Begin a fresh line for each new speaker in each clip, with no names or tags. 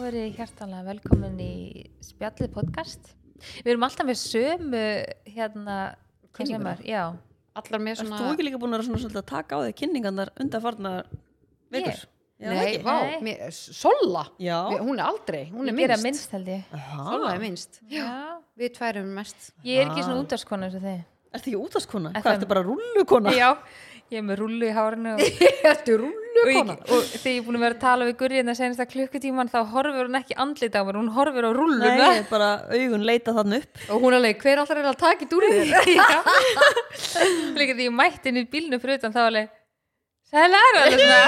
verið hjartalega velkomin í spjallið podcast. Við erum alltaf með sömu hérna, hvað sem
Kynninguna.
er, já.
Allar með
Ert
svona
þú ekki líka búin að vera svona, svolítið að taka á þig kynningarnar undanfarna vikur? Já,
Nei,
ekki?
vá,
Nei.
mér, Sola
Já.
Mér- Hún er aldrei, hún
Ég
er
ger
minnst
að minnst held ég.
Sola
Aha.
er minnst
Já.
Við tværum mest
Ég er ekki svona
Ah.
útarskona eins og þið.
Ertu ekki útaskona?
FM.
Hvað, ertu bara rullukona?
Já, ég er með rullu í hárinu og
Ertu
og, ég,
rúllukona?
og þegar ég er búin að vera að tala við Gurri en það senast að klukkutíman þá horfur hún ekki andlit á mér, hún horfur á rulluna
Nei, ég er bara augun leita þann upp.
Og hún alveg, hver allar er að taka í dúrið þér?
Já. líka því ég mætti henni í bílnu fyrir utan þá alveg sæl er alveg svona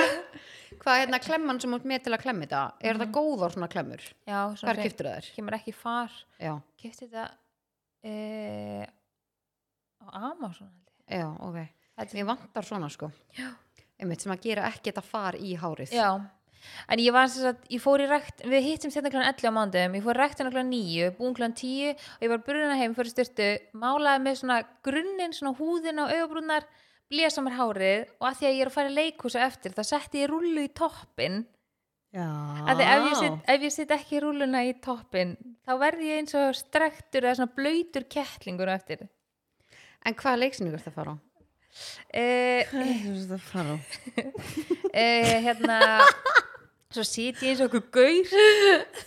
Hvað er hérna klemman sem út með til að klemmi þetta? Er
Mhm.
það góðar svona klemmur?
já, svona
Hvar kiptur það þær?
kemur ekki far
Já,
kipti þetta e, á Amazon held ég.
já, ok
Þetta-
Mér vantar svona sko
Já.
Einmitt, sem að gera ekki þetta far í hárið
já en ég var sem sagt, ég fór í rækt við hittum þetta klána 11 á mándum ég fór í ræktina klána 9, búin klána 10 og ég var brunna heim, fyrir styrtu málaði með svona grunnin, svona húðin á augabrúnar blésa mér hárið og að því að ég er að fara í leikhúsa eftir þá setti ég rullu í toppin
Já.
að ef ég, set, ef ég set ekki rúluna í toppin þá verði ég eins og strektur eða svona blöytur kettlingur á eftir
En hvaða leiksningur það fara á?
uh,
Æ, þú veist að fara á.
uh, hérna svo sit ég eins og okkur gaur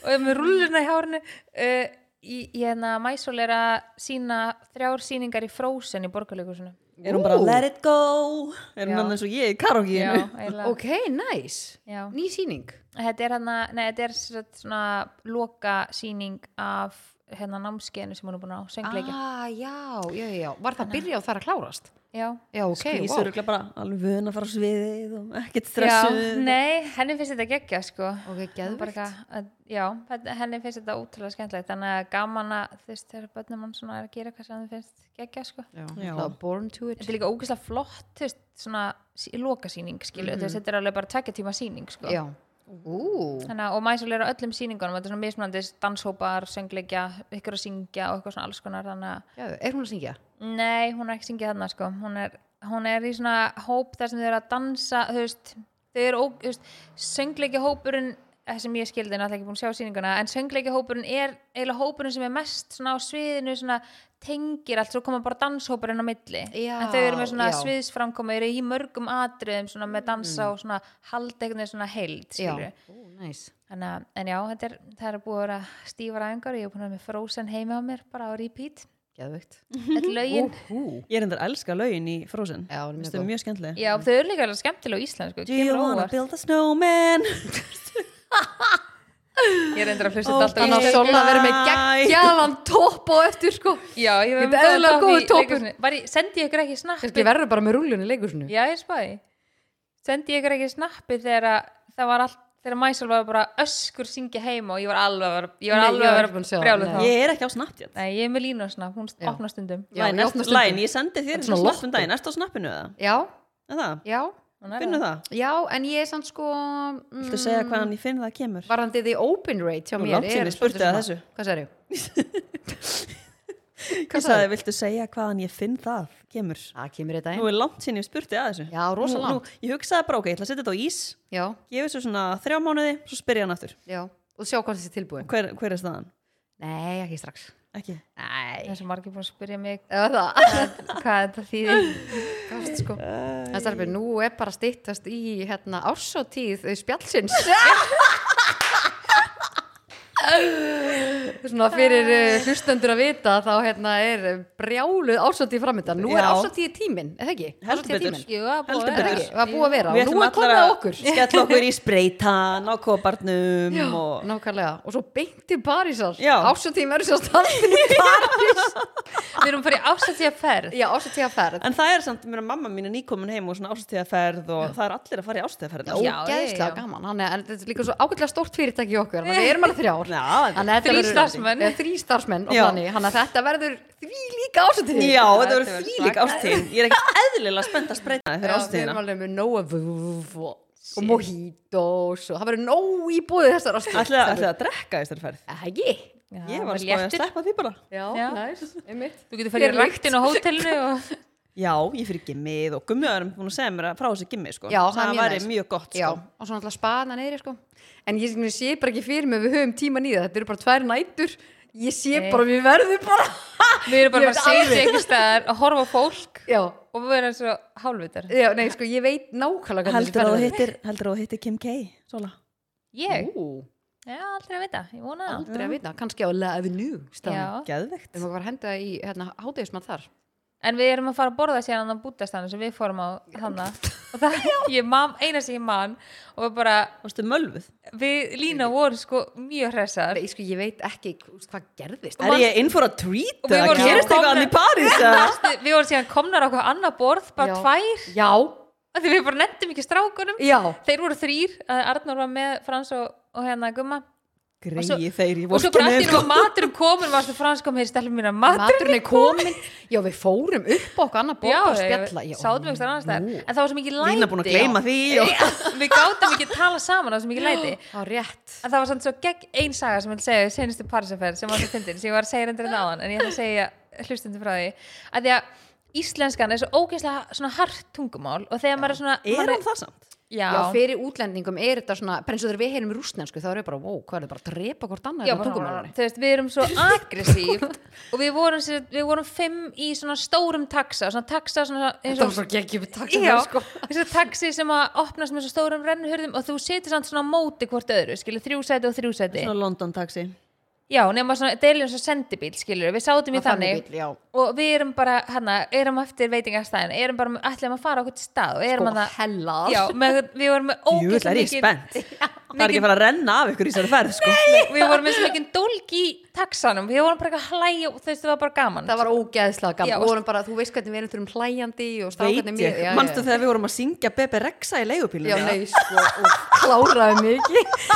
og er með rúluna í hárinu uh, ég hérna Mæsól er að sína þrjár síningar í Frozen í borgarleikusinu
Er hún bara
Ú.
let it go? Er hún
Já.
annars og ég í karaokeinu?
eiginlega.
Ok, nice
Já.
Ný sýning
þetta er hérna, nei þetta er sem sagt svona loka síning af hérna námskeinu sem hún er búin á söngleiki,
ah, já, já, já, já. Var það að byrja og það er að klárast?
já
Já, ok,
Ég
wow.
söruglega bara alveg vun að fara á sviðið og ekkert
Já,
stressuð.
nei, henni finnst þetta geggja sko
Ok,
Hún bara
geðvögt.
eitthvað að- Já, þetta- henni finnst þetta ótrúlega skemmtilegt þannig að gaman að þú veist þegar börnum hann svona er að gera hvað sem henni finnst geggja sko
Já,
Já.
það var born to it.
Þetta er líka ógeðslega flott, þú veist, svona sí- lokasýning skilu, þú veist, þetta er alveg bara tvekja tíma sýning sko
Já. Ú,
Þannig að, og mæsul er á öllum sýningunum, þetta er svona mismunandi danshópar, söngleikja, ykkur að syngja og eitthvað svona alls konar, þannig að
já, er hún að syngja?
Nei, hún er ekki syngið þarna sko hún er, hún er í svona hóp þar sem þau eru að dansa þú veist, þau eru ó, þú veist, söngleiki hópurinn sem ég skildi, náttúrulega ekki búin að sjá sýninguna en söngleiki hópurinn er eiginlega hópurinn sem er mest svona á sviðinu svona tengir allt, svo koma bara danshópurinn á milli
Já,
en þau eru með svona
já. Mm.
sviðsframkoma eru í mörgum atriðum svona með dansa og svona haldegni svona heild, skilur
Já. Ú, næs.
Þannig að, en já, þetta er, það er búið að vera stífar æfingar, ég er búin að vera með Frozen heima á mér, bara á repeat,
Geðvögt.
þetta lögin
Ú,
Ég er endur að elska lögin í Frozen.
Já, hún er mjög
Finnst þau
góð.
mjög skemmtileg.
Já, þau eru líka alveg skemmtilega á íslensku
Do you
kemur
wanna
óvart.
build a snowman?
Ég reyndir að hlusta
Ó,
þetta alltaf
Þannig að
Ég-
Sola verið með
Æ.
geggjaðan topp á eftir, sko.
Já, ég
Þetta er eðlilega góður toppur.
Var ég, sendi ég ykkur ekki
Kannski
snappi
verður bara með rúlunni leikursinu.
Já, ég spáði Sendi ég ykkur ekki snappi þegar að- það var allt þegar Mæsól var bara öskur syngja heima og ég var alveg að vera- ég var
Nei,
alveg
ég
að
var ekki búin að sjá
vera
það,
brjáluð
nei.
þá
Ég er ekki á Snapchat.
Nei, ég er með línasnapp, hún opnar stundum
Já,
Læn,
ég
ertu,
opna stundum.
læn, ég sendi þér
Þetta er
svona
svona
snappum
lotto.
daginn, ertu á snappinu eða?
Já,
Er það?
já,
Hún er
Finnur
það.
það?
já, en ég er samt sko... Mm,
Viltu segja hvaðan ég finn það kemur?
Varandi the open rate hjá
Nú,
mér.
langt síðan
er
ég spurti
svolítið
að
svona-
þessu.
Hvað sagði ég?
Ég sagði, viltu segja hvaðan ég finn það kemur?
Það kemur þetta
Nú
einn.
er langt sinni ég spurti að þessu.
Já, rosa
Nú-
langt.
nú- Ég hugsaði bara, ok, ég ætla að setja þetta á ís,
Já,
gefa þessu svona þrjá mánuði, svo spyrja hann aftur.
já. Og sjá hvað þessi tilbúin.
Hver, hver er staðan?
Nei, ekki strax.
Ekki.
Nei.
Það er svo margir búin að spyrja mig
Eða það.
hvað þetta þýðir
Gafst sko. Það er starfið, nú er bara stýttast í hérna ársótíð spjallsins. Svona fyrir uh, hlustendur að vita þá hérna er brjáluð ársótíð framöndan. Nú er
Já.
ársótíð tíminn, eða ekki?
Heldur
Árshátíð
betur.
tíminn.
Jú, það er búið að
Heldur
Eða
vera.
betur.
ekki? Það er búið að vera.
Við
og Nú er
ætlum allar
komið að
að
okkur.
skella okkur í spreytan á koparnum og...
Nákvæmlega. Og svo beint í Parísar.
Já.
Ársótíð verður svo starfið í París.
Við erum farið ástættíða ferð
Já, ársótíð að ferð.
En það er samt, mér að mamma mín er nýkomin heim og svona ástíðaferð og það er allir að fara í ástíðaferð.
Já, já,
ógeðslega
já.
gaman hann er, en þetta er líka svo ágætlega stórt fyrirtæki í okkur þannig að við erum alveg þrjár Þannig
Já,
að þetta
Þrír
verður-
starfsmenn.
Eh, þrír starfsmenn og
Já.
þannig, þannig að þetta verður því líka ásatíð
Já, þetta
Þetta
verður
verður
þvílík
svaka.
ástíðin. Ég er ekki eðlilega spennt að spreita þig fyrir
við erum
ástíðina.
alveg með nóg af vúf og, og mojitos og það verður nóg í búið þessar ásatíð
Ætlaði ætlaði að drekka þessari ferð.
Ekki?
Já,
Ég var
bara
sko að spáði að
léttur.
sleppa því bara.
Já,
Já.
næs, einmitt
Þú getur farið
Þér
í ræktin á hótelinu og
Já, ég fyrir gimmið og gummiðar er búin að segja mér að frá þessi gimmið sko.
Já,
það
er
væri
næs.
mjög gott
Já,
sko.
og svo náttúrulega spana neyðri sko. en ég ég sé bara ekki fyrir mig að við höfum tíma nýða, þetta eru bara tvær nætur ég sé
Nei.
bara, að við verðum bara
Við erum bara
Ég
að
veit
segja
alveg.
ekki staðar að horfa á fólk
já,
og við erum svo hálfvitar
já, nei, sko, ég veit nákvæmlega hvernig
Heldur
þessi
að þú
ferð verður.
hittir, heldur að þú hittir Kim K Sola.
Ég?
Ú,
Já, aldrei að vita, ég vona það
aldrei að vita, kannski á La Avenue staðan.
Já.
Geðvegt
við erum bara að henda í hérna, hátegismann þar
En við erum að fara að borða síðan á bútastanum sem við fórum á þarna og það, ég man, eina sem ég man og bara,
Varstu mölvuð?
við Lína vorum sko mjög hressar
Nei, sko, ég veit ekki hvað gerðist
Er ég inn for a treat?
Og við
eða
vorum
gerist
komnar-
eitthvað annað í París? eða?
Við- Við vorum síðan komnar á okkur annað borð, bara
Já.
tvær
já,
af því við bara nefndum ekki strákunum
já,
Þeir voru þrýr, að Arnur var með Frans og, og hérna Gumma Og svo-
Greið þeir í
og svo bara
vorkinni,
allir
sko.
og maturinn komin og varstu Frans kom hér stelpum mína matur
maturinn er komin já, við fórum upp á okkur annar bóta og spjalla já,
sáðum ekki annars þar
nú.
en það var svo mikið læti
Lína búin að gleyma því og...
við gátum ekki að tala saman á svo mikið læti
á rétt
en það var samt svo gegn ein saga sem ég vil segja í senustu parisaferð sem var svo fyndin sem ég var að segja reyndir en áðan en ég ætla að segja hlustundu frá því að því að íslenskan er svo ógeðslega svona hart tungumál og þegar maður er svona
Er
maður
hann það samt?
já,
Já, fyrir útlendingum er þetta svona, bara eins og þegar við heyrum rúsnensku, þá erum við bara, wow, hvað er það bara að drepa hvort annað
já,
hérna
bara,
tungumálinu?
þú veist, við erum svo aggressív og við vorum, sér- við vorum fimm í svona stórum taxa svona taxa svona, eins
Þetta
og-
var svo geggjum takk
Já,
sko.
þessi taxi sem að opnast með svo stórum rennhurðum og þú setur samt svona á móti hvort öðru, skilur, þrjú sæti og þrjú sæti
Svona London taxi
Já, nema svona, þetta er eins og sendibíl, skilur, við sátum í
Var þannig
þannig
bíll, já.
og við erum bara, hérna, erum eftir veitingastæðin, erum bara, ætlum að fara okkur til stað og erum
Sko,
að
hella.
Já, með, við vorum með
Jú, það
ógeðslega
er ég
mikinn-
spennt Það er ekki að fara að renna af ykkur í þessari ferð sko.
Við vorum með svo mikinn dólg í taxanum, við vorum bara eitthvað að hlæja og þú veist, það var bara gaman
Það var ógeðslega gaman.
Já,
Við vorum bara, þú veist hvernig við erum þurfum hlæjandi og strákarnir
Veit
mér.
ég, manstu þegar við vorum að syngja Bebe Rexa í
Já,
leigupílunum
nei, sko, og kláraði mikið.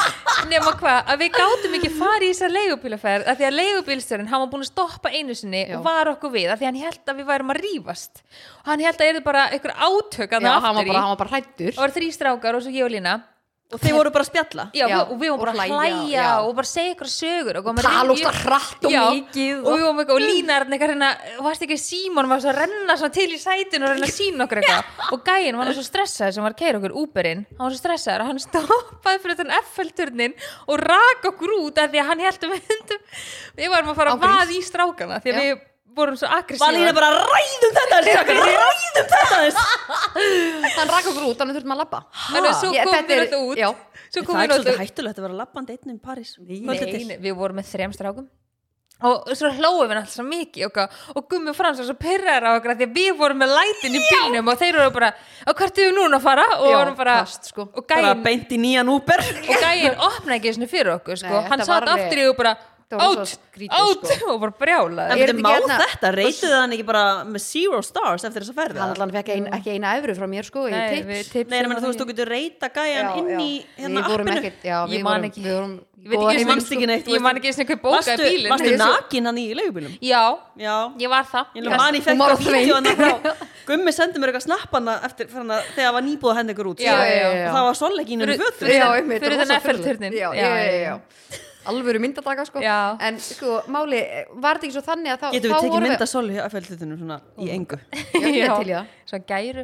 nema hvað, að við gátum ekki farið í þessar leigubílaferð af því að leigubílstjórinn, hann var búin að stoppa einu sinni
Já.
og var okkur við, af því hann held að við værum að rífast og hann held að erði bara einhver átök að
Já,
það
hann var
Hérna aftur í
bara, hann var bara hættur.
og var þrý strákar og svo ég og Lína
og þeir voru bara að spjalla
já,
Já,
og við vorum
og
bara að
hlæja,
hlæja
já.
og bara segja ykkur sögur og,
Tala óslega hratt og mikið
og, og, og, og, og Lína er eitthvað hérna, varst ekki Símon var svo að renna svona til í sætin og reyna að sína okkur eitthvað og gæinn var nú svo stressaður sem var að keira okkur Uberinn, hann var svo stressaður að hann stoppaði fyrir þann F-fjöldurnin og rak okkur út af því að hann heldum við varum að fara
Ágríns.
að vað í strákana því að
Já.
við vorum svo aggressíva
Valína bara ræðum þetta aðeins, krakkar, Ræðum þetta aðeins."
Hann rakk okkur út, þannig þurftum að labba.
en svo
Ég-
komum
þetta
við
er-
náttúrulega út
já.
svo
Það
komum
er
við
ekki svolítið
náttúrulega
hættulegt að vera labbandi einn um París Kvöldið til.
Nei, við vorum með þrem strákum og svo hlóðum við alltaf svo mikið og, og gummi frans og svo pyrraður á okkur af því að við vorum með lætin í bílnum og þeir eru bara, og hvert er við núna að fara og
Já,
vorum bara,
fast, sko.
og
Bara
gæinn
beint í nýjan Uber
og gæinn opnaði ekki svona fyrir okkur sko.
Nei,
hann
þetta
satt
var alveg-
aftur í og bara
þetta var
out,
svo skrítið,
out
sko.
og bara brjálaði
En
Er
byrju,
þetta
má
ekki hérna-
þetta, reytuðu hann ekki bara með zero stars eftir þess að ferða
Hann allan fekk ein, ekki eina efru frá mér, sko, í
Nei, við
tips.
Nei, ég
tipsum
meina þú veist, þú
þannig.
getur reyta gæjan inn í hérna
við vorum
appinu
ekkert, já,
Ég
við
man
vorum,
ekki.
við vorum
Ég veit
góða
ekki einu
heiminn,
Ég
sinni-
manst ekki neitt
ég man ekki einu sinni hver bókaði
Varstu-
bílinn.
Varstu
Nei, svo-
nakin hann í leigubílum?
já,
Já
ég var það
Ég lef man ég fekk
Hún var á
að vídeóna
þveiti.
hérna frá Gummi sendi mér eitthvað snappana eftir fyrir hana þegar var nýbúið að henda ykkur út sko.
Já, já, já,
já.
og það var solleginu
Fyrir-
fötum
fyrir-
já,
þann-
einmitt,
fyrir
rosa
þann
furðulegt.
Eiffel-turninn.
já,
Já,
já,
já,
já, já. alvöru myndataka sko
Já.
en sko, máli, var þetta ekki svo þannig að þá
Getum
þá
við tekið
vorum
mynda soli af fjöldlutunum svona í engu
Já, ég er til í það.
svo gæru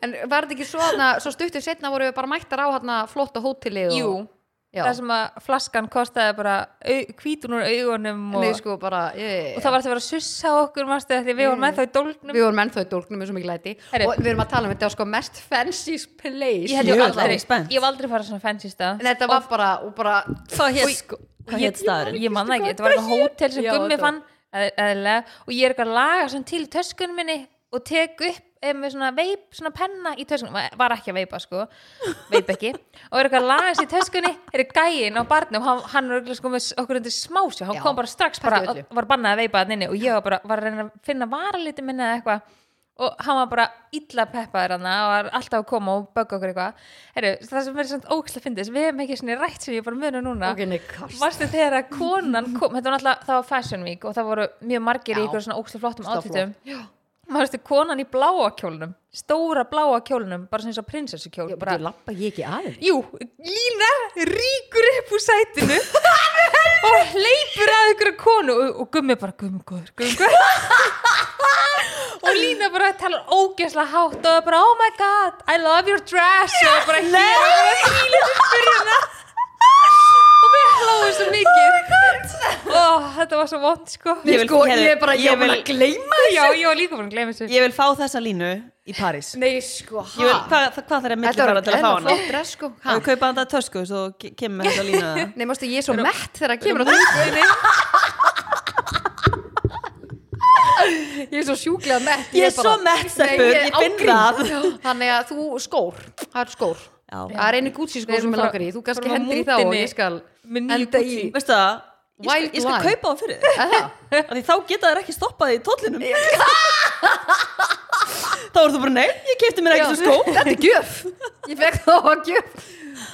en var þetta ekki svo, hana, svo stuttu setna voru við bara mættar á hana, flotta hóteli og,
jú,
já,
það sem að flaskan kostaði bara kvítun úr augunum
Nei,
og
sko, bara, ég,
og það var alltaf að vera að sussa á okkur manstu, því við vorum ennþá í dólknum
við vorum ennþá í dólknum eins og mikið læti
Herri.
og við erum að tala um þetta var sko mest fancy place
ég held ég
Mjög
aldrei,
alveg spennt.
ég hef aldrei farað svona fancy stað
en þetta var bara, og bara
Hvað hér sko? Hvað hér staðurinn?
ég manna ekki, þetta var eitthvað hótel sem
Já,
gummi
þetta var-
fann eð- eðlilega, og ég er eitthvað að laga svona til töskunum minni og tek upp eh, með svona veip, svona penna í töskunum Va- var ekki að veipa sko, veip ekki og er eitthvað að laga sér í töskunni er gæin á barnum, hann, hann er örugglega, sko með s- okkur undir smásjó, hann
Já,
kom bara strax bara,
pældi í öllu.
var bannað að veipa þann inni og ég var bara var að reyna að finna varaliti minna eða eitthvað og hann var bara illa peppaður hann og var alltaf að koma og bögga okkur eitthvað Heru, það sem verður svona ókslega fyndið sem við hefum ekki svona rætt sem ég bara munu núna
ok, nei, kast
varstu þegar að konan kom þetta var alltaf, það var Fashion Week og það voru mjög margir í
Já.
ykkur svona ókslega flottum
Ógeðslega
átutum varstu konan í bláa kjólnum stóra bláa kjólnum, bara svona eins og prinsessukjól
bara,
bara,
lappa ég ekki aðeins
jú, Lína ríkur upp úr sætinu og hleypur að ykkur konu og, og gummi bara gummi góður, gummi góður og Lína bara talar ógeðslega hátt og bara oh my god, I love your dress og bara hér og bara hýlum spyrjana hérna. og við hlóðum svo mikið oh þetta var svo vond sko
Ég
Ég,
vil-
sko,
heyrðu,
ég er bara, ég
ég
er bara
vil-
að gleyma
já, ég var líka búin að gleyma þessu
Ég vil fá þessa línu í París
Nei, sko,
Ég vil,
hæ?
hvað, hvað þarf að milli
Þetta var
fara til að fá
enn
hana?
flottra, sko
Ef
ha?
Þú kaupa handa tösku svo ke- kemur með þessa línu að það
Nei, mástu, ég er svo mett þegar það kemur á þústinni Ég er svo sjúklega mett
Ég er svo mett, stelpur,
Nei,
ég finn
ágrín.
það.
Já, Þannig að þú skór, það er skór
Já.
Það er einu Gucci skór sem
erum
ég
frá-
langar í Þú kannski
frá
hendir í þá og
mútinni
ég skal
með nýju
enda í
Gucci.
Veistu það? Ég skal,
Wild
ég skal
wine.
kaupa það fyrir þig.
Er það?
Af Því þá geta þær ekki stoppað í tóllinum Þá eru þú bara, nei, ég kefti mér ekki
Já.
svo skó
Þetta er gjöf Ég fekk þá að gjöf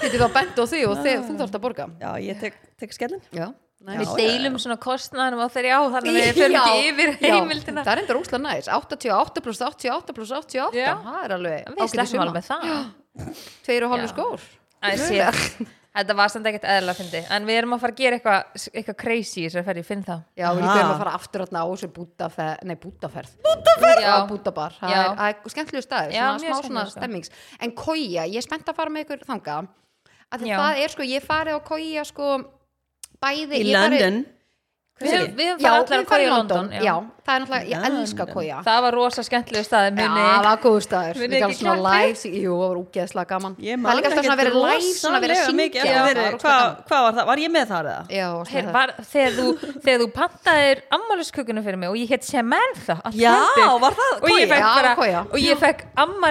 Getur þá bent á því og þið, þú þarft að borga
Já, ég tek, tek skellin
Ah. Já,
við
næs
deilum svona kostnaðanum á þeirri á þannig að við förum ekki yfir heimildina
Það er enda rúslega næs 88 pluss 88 pluss 88
Já.
Það er alveg
við sleppum alveg með það
Tveir og halvu
Já.
skór
Æ,
Mögulega.
shit. Þetta var samt ekkert eðla fyndi En við erum að fara að gera eitthvað eitthvað crazy í þessari ferð, ég finn það
Já, við
Aha.
erum að fara aftur þarna á þessu bútaferð Nei, bútaferð Bútaferð? Já, bútabar Það
Já.
er- það er skemmtilegu staður
Já, mjög
svona, Smá svona
skemmtilegur staður.
stemmings En kója, ég er spennt að fara með ykkur þanga að
Já.
Það er sko, ég farið á kója sko Bæði ég
Í
farið-
London
Við höfum- við höfum
Já,
farið allar
við
að kója í
farið
London,
Já,
já.
það er náttúrulega, ég
London.
elska kója
Það var rosa skemmtilegu staði
Já, það
muni
var góð staður
Munið
Við gæmum
ekki
svona
klappið?
live sí- Jú, það var úgeðslega gaman
Ég
Það
man
er líka alltaf
ekkert
svona verið live, svona verið að
rosalega mikið
syngja
eftir
Það
verið-
var ógeðslega
Hvað
gaman.
hvað var það? Var ég með það eða?
Já, og
Her,
svona það
var, þegar, þú, þegar þú pantaðir ammáliskökunum fyrir mig og ég hétt Samantha allt
Já,
kvöldið.
var það
og ég
koja?
fekk,
Já,
bara,
koja.
og ég fekk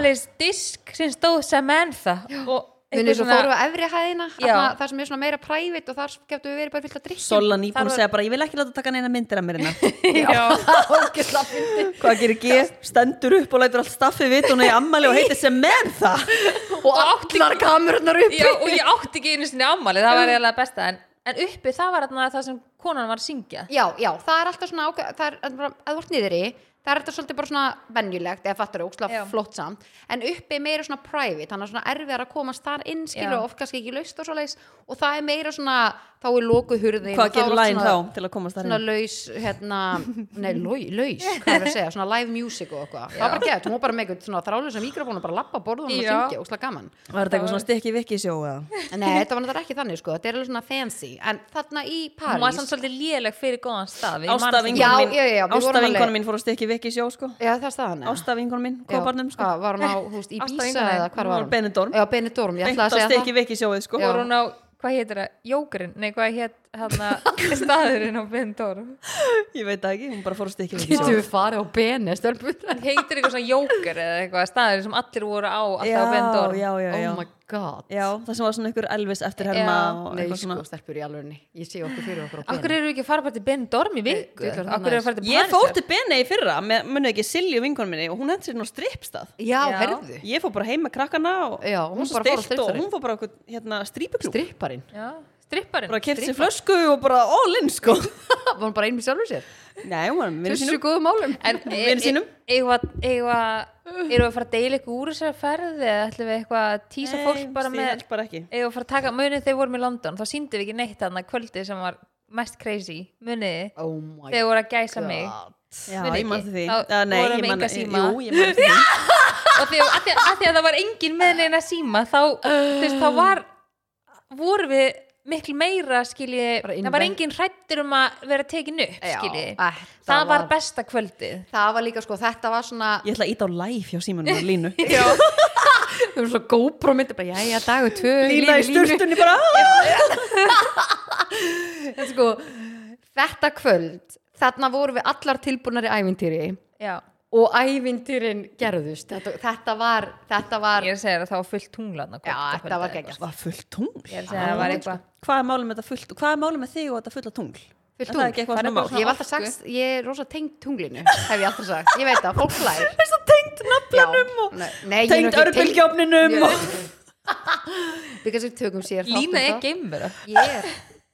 ammálisdisk sem stóð Samantha og
Munið
eitthvað
svo
svona-
fórum við á efri hæðina
Já.
þarna- þar sem er svona meira private og þar getum við verið bara fyllt að drikja
Sola nýbúin
Þar
að
var-
segja bara, ég vil ekki láta taka neina myndir af mér hérna
Já.
Ógeðslega fyndið.
Hvað gerir ég? Stendur upp og lætur allt staffið vitt og neyja ammali og heitir sem menn það
og allar kamerunar uppi
Já, og ég átti ekki einu sinni ammali það var eiginlega besta en, en uppi það var þarna það sem konan var að syngja
já, já, það er alltaf svona ákveð, það er, að bara- að þú ert niðri það er alltaf svolítið bara svona venjulegt eða fattur ókslega
Já.
flott samt en uppi er meira svona private, þannig að svona erfiðar að komast þar inn skilur
Já.
og oft kannski ekki laust og svoleiðis og það er meira svona, þá er loku hurðin
Hvað
og er
gerir
oft
læn
svona-
þá til að komast það
svona
hérna?
laus, hérna nei, lau- laus, hvað er að segja, svona live music og eitthvað, það var bara gett, hún var bara með eitthvað svona þrálega sem mikrofónu, bara lappa borðunum og
Já.
syngja, óslega gaman
Var þetta eitthvað svona stikki vikki sjó eða?
nei, þetta var náttúrulega ekki þannig, sko, þetta er alveg svona fancy en þarna í
hún var samt
París
svolítið léleg fyrir góðan stað ég man ekki-
Ástafingun
Já,
mín,
já, já, við vorum
Ásta
alveg-
vinkona mín fór að stikki vikki sjó sko
já, það er staðan, eða?
Ástafingun mín,
Já,
koparnum sko
hvað, var hún á, þú veist, í
Ásta
Bísa
vinkona þín.
eða hvað
Hún
var
var
hún?
Benidorm.
Já, Benidorm, ég
Beint
ætla
á
að segja
stikki vikki sjóið sko
Já.
voru hún á, hvað hétir það, jókurinn nei hvað hétt hérna staðurinn á Benidorm
Ég veit það ekki, hún bara fór að stikki
það
vikki sjó
Getum við farið á Bene, stjálpun
hann heitir eitthvað svona jókur eða eitthvað staður sem allir voru á alltaf á Benidorm
já, já, já.
Oh my god
já, það sem var svona einhver Elvis eftirherma
Já.
og
Nei,
eitthvað
sko,
svona
stelpur í alvörunni Ég sé okkur fyrir okkur á
Akkur
Bene
eru ekki að fara bara til Benidorm í viku?
Nei, djöfull var það
Akkur eru að fara til
Ég fór
Parísar?
til Bene í fyrra, með, munið ekki Silju vinkonu minni og hún hendur sér nú strippstað
Já,
Já.
herðu
Ég fór bara heim með krakkana og
Já, hún
hún svo
bara fór á
stilt og
strippstað.
hún fór bara á einhvern, hérna, strípuklúb
Stripparinn
Já, stripparinn
bara kefti sér flösku og bara all in sko
Var hún bara einu með sjálfur sér
Nei, hún var með vinnu
Þessu
sínum
góðu málum
En e-
Vinum sínum.
e- eigum við að- eigum við að- erum við að fara að deila eitthvað úr þessari ferði eða ætlum við eitthvað að tísa fólk bara
Nei, ég
með
held bara ekki
eigum við að fara að taka, munið þegar við vorum í London þá síndum við ekki neitt þarna kvöldið sem var mest crazy, munið þið
Oh my
þegar við voru að gæsa mig
god
Já,
Muni
ég
ekki.
mann því
Þá
Já, Nei,
vorum
ég
við
mann
enga síma.
Jú, ég mann því
og þegar, að því að, að því að það var engin með neina síma þá, þú veist, þá var voru við miklu meira skilji,
Bara
það var
innven-
engin hrættur um að vera tekin upp
Já,
skilji,
eh,
það var besta kvöldið
Það var líka sko, þetta var svona
Ég ætla að íta á live hjá símanum og línu
Já,
Við erum svo GoPro myndi bara, jæja, dagur tvö
Lína í
lífi, línu.
sturtunni bara
En sko, Þetta kvöld, þarna vorum við allar tilbúnar í ævintýri
já
og ævintýrin gerðust þetta, þetta var, þetta var
Ég er að segja þér að það var fullt tunglaðna
já, þetta var geggjast
Var fullt tungl
Ég er að segja að það var eitthvað
Hvað er málum með þetta fullt Hvað er málum með þig og þetta fulla tungl
Fullt
Er Það er
Það
ekki eitthvað
er
svona
bara
mál
ég hef alltaf
orku.
sagt, ég er rosa tengd tunglinu hef ég alltaf sagt, ég veit það, fólk hlær
Það er svo tengt naflanum og
Nei, nei, ég er nú ekki
tengt örbylgjófninum
Já. because við tökum sér þátt um
Lína er
það.
geimvera
ég er,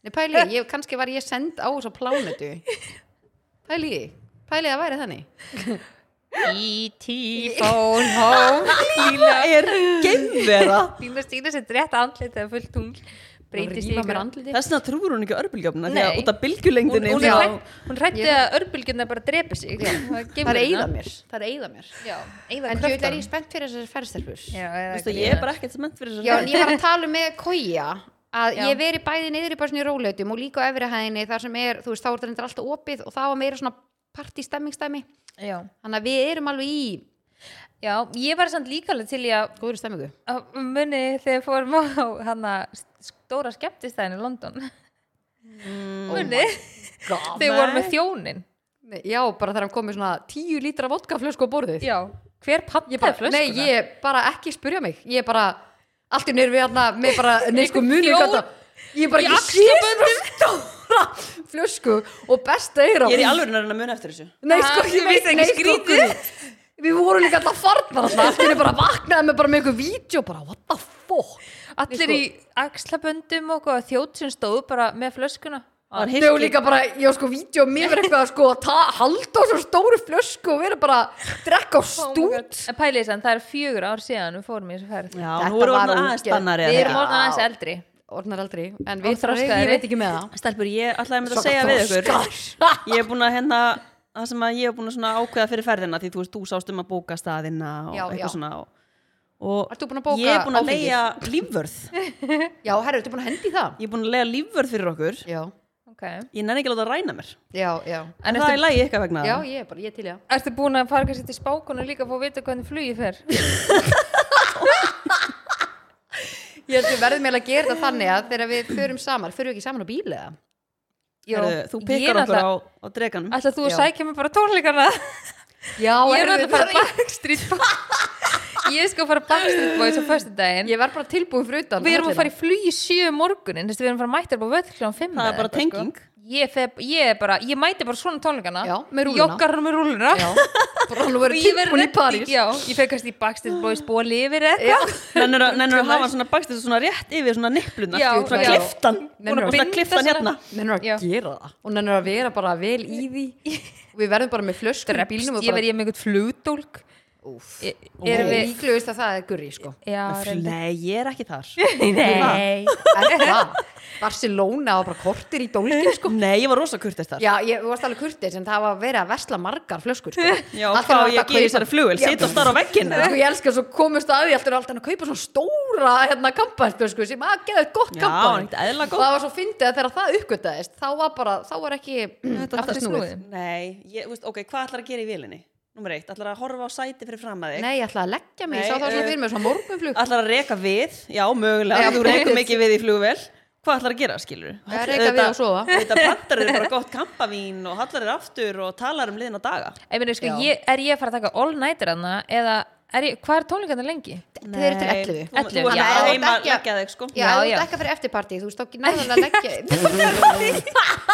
nei pæli, ég, kannski var ég send á þessa plánetu pæli, í því. pæli það væri þannig
E.T. phone home
Lína er geimvera
Lína stýna sér rétt andlit eða fullt tungl breytist í
rífa mér
ykkur
andlitið
Þess vegna trúur hún ekki örbulgjöfna því
Nei.
að út af
hún,
bylgjulengdinni
hún,
þá-
er hrædd- hún hrætti
Ég-
að örbylgjurnar bara drepi sig
það er eigða mér, það er eigða mér
já, eigða
en djöfull er ég spennt fyrir þessar ferðstelpur
já,
Þú
eða
veist að
eitthvað.
ég er bara ekkert sement fyrir
Já,
þessar
en ég var að tala um með kója að
Já.
ég veri bæði niður í bara svona í rólautum og líka á efri hæðinni þar sem er, þú veist, þá er þetta alltaf opið og það var meira svona partistemmingstæmi
já.
þannig að við erum alveg í
já, ég var samt líka alveg til í að
góður stemmingu
að muni þegar fórum á hana stóra skemmtistæðin í London muni
God.
þegar vorum
Nei.
með þjónin
Já, bara þegar hann komið svona tíu lítra vodkaflösku á borðið
já, hver
Ég
pattaði
bara,
flöskuna
Nei, ég bara ekki spurja mig ég bara, allt í nýr við hérna með bara, nei sko munið
Einhver
gata ég bara
í
ekki sé svona stóra flösku og besta eira
Ég er í alveg að muna eftir þessu
Nei, sko,
Ha,
ég
finnst
veit
það ekki
nei, sko,
skrítið?
Guð, Við vorum líka alltaf farnar alltaf, allt henni bara vaknaði með bara með einhver vídeo, bara what the fuck
allir
Nei,
í axlaböndum og eitthvað, þjótt sem stóð bara með flöskuna
Það var
Þau
hyrki-
voru líka bara, ég var sko vídeo mér verið eitthvað sko að ta- halda á svo stóru flösku og vera bara að drekka á stút
en pælið sann, það er fjögur ár síðan við fórum í þessu ferð
Já,
Þetta
nú erum
var
við aðeins
ógeð.
spannari
við
eða
erum
ekki?
orðin aðeins eldri
Orðnar aldrei, en
Og
við þroskaðir,
þroskaðri.
ég veit ekki með það
Stelpur, ég ætlaði að mynda
Svaka
að segja við ykkur
þroskar.
Ég er búin að hérna það sem að ég er búin að svona ákveða fyrir ferðina því þú veist, þú sást um að bóka staðina og
Já,
eitthvað
já.
svona og, og
Ertu búin að bóka
ég er búin að
áfengið?
leia lífvörð ég
Já, herru, ertu búin að hendi í það?
er búin að leia lífvörð fyrir okkur
Já,
okay.
ég nenni ekki að láta að ræna mér
já, já
En
en það
ertu-
er lægi eitthvað vegna
Já, ég er bara, ég er til í það
Ertu búin að fara kannski til spákonu líka að fá að vita hvernig flugið fer?
Ég held við verðum eiginlega að gera þetta þannig að þegar við förum saman, förum við ekki saman á bíl eða?
Heyrðu, þú
Ég er
pikkar okkur á,
náttúrulega-
á dreganum
Ætla þú að
Já.
sækja mig bara á tónleikana?
Já,
ég er
herru,
alltaf að
það-
fara Backstreet Boys Ég skal fara Backstreet Boys á föstu daginn
Ég verð bara tilbúin fyrir utan
Við erum að fara í flugi sjö um morgunin þessi, Við erum að fara mættir bara völl kljóðan fimm
Það er
eða
bara
eitthvað, sko.
tenging.
ég, feb, ég, er bara, ég mæti bara svona tónleikana
Já, með rúlluna.
Joggar með rúluna
Já, bara hann verður tilbúin í París
Já, ég fekk kannski í Backstreet Boys bóli yfir eða eitthvað
nennur að hafa svona bakstið svona rétt yfir svona nippluna
Já,
svona
já.
kliftan
Nennirðu að
svona
binda
kliftan
svona-
hérna
Nennur að
Já.
gera það Og nennur að vera bara vel í því Og Við verðum bara með flöskur í bílnum
Ég verði ég með einhvern flugdólk
Úf
Ég-
Erum
Erum
við
við
líklegust að það er gurri sko
Já, reyndar.
Nei, ég er ekki þar
Nei
Er það? Barcelona og bara kortir í dólgin sko
Nei, ég var rosa kurtist þar
Já, ég varst alveg kurtið sem það var verið að versla margar flöskur sko
Já,
Allt
hvað á
var hægt
ég að gera í
kaupa-
þessari flugvél?
Já,
Sitja og stara á vegginn, eða?
Sko ég elska svo komust að því alltaf alltaf að kaupa svona stóra hérna kampænflösku sem að geða eitt gott
Já,
kampaðn
þetta er eðlilega gott.
Og það var svo fyndið að þegar það uppgötaðist þá var bara, þá var ekki aftur
aftur
snúið
snúið.
Nei, ég, veist, ok, hvað ætlar að gera í vélinni? Númer eitt, ætlar að horfa á sæti fyrir fram að þig
Nei, ég ætla að leggja mig, ég sá
Nei,
það svona
eh,
fyrir mig svona morgunflug
Ætlar að reka við, já, mögulega
Já,
Þú
einmitt.
rekum ekki við í flugvél Hvað ætlar að gera, skilur?
Já, reka við og sofa.
Þetta pantar þér bara gott kampavín og hallar þér aftur og talar um liðina daga
Ég meina, sko,
Já.
ég, er ég að fara að taka all nighter hana eða er ég, hvað er tónleikarnir lengi?
Þeir eru til 11
Já,
Þú- Þú ert
þú
að
ert
heima
ekki að-
leggja þig, sko
Já,
Já,
þú
já.
ert ekki að fyrir eftirparti, þú veist ekki náðan að leggja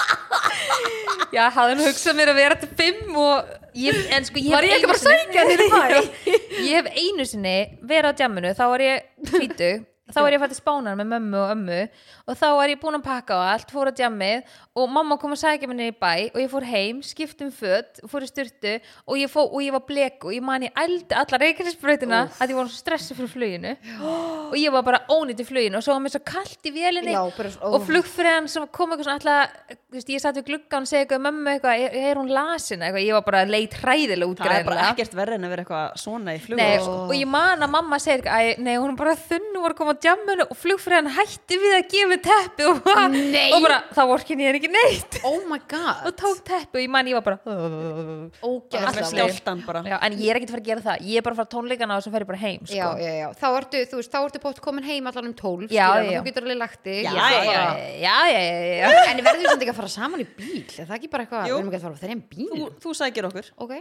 Já, hafði hann hugsað mér að vera til fimm og ég, en sko, ég
Var ég ekki bara að sækja þér í bæ?
Ég hef einu sinni verið á djamminu, þá var ég hvítu, þá var ég fætti spánar með mömmu og ömmu og þá var ég búin að pakka á allt, fór á djammið og mamma kom að sækja mér niður í bæ og ég fór heim, skiptum föt, fór í styrtu og ég, fó, og ég var blek og ég man ég ældi alla reikinsbreytina að ég var svo stressið fyrir fluginu og ég var bara ónýtt í fluginu og svo var mér svo kalt í vélinni
Já, bara svo- ó.
og flugfræðan sem kom eitthvað svona alltaf þú veist, ég satt við gluggan og segi eitthvað við mömmu eitthvað, er, er hún lasin eitthvað, ég var bara leit hræðilega út
Það er bara
greinilega.
ekkert verri en að vera eitthvað svona í flugvél
Nei,
sko.
og ég man að mamma segir eitthvað, "Æ, nei, hún er bara þunn og var að koma á djamminu og flugfræðan hætti við að gefa teppi og,
Nei.
og bara, þá orkin ég er ekki neitt
Oh my
og
god,
tók teppi og ég man ég var bara
Bara með
ógæðslega
skjálftan bara
já, en ég er ekkert að fara að gera það, ég er bara að fara á tónleikana og svo fer ég bara heim sko.
Já, já, já, þá ertu, þú veist, þá ertu bótt komin heim allan um
Já,
12 skilurðu,
já.
Þú getur alveg lagt þig
Já,
Ég ætla
já,
bara-
já, já, já, já.
En verður við samt ekki að fara saman í bíl? Er það ekki bara eitthvað,
Jú.
við erum ekki að fara á þeirra bíl?
Þú, þú sækir okkur
Ok,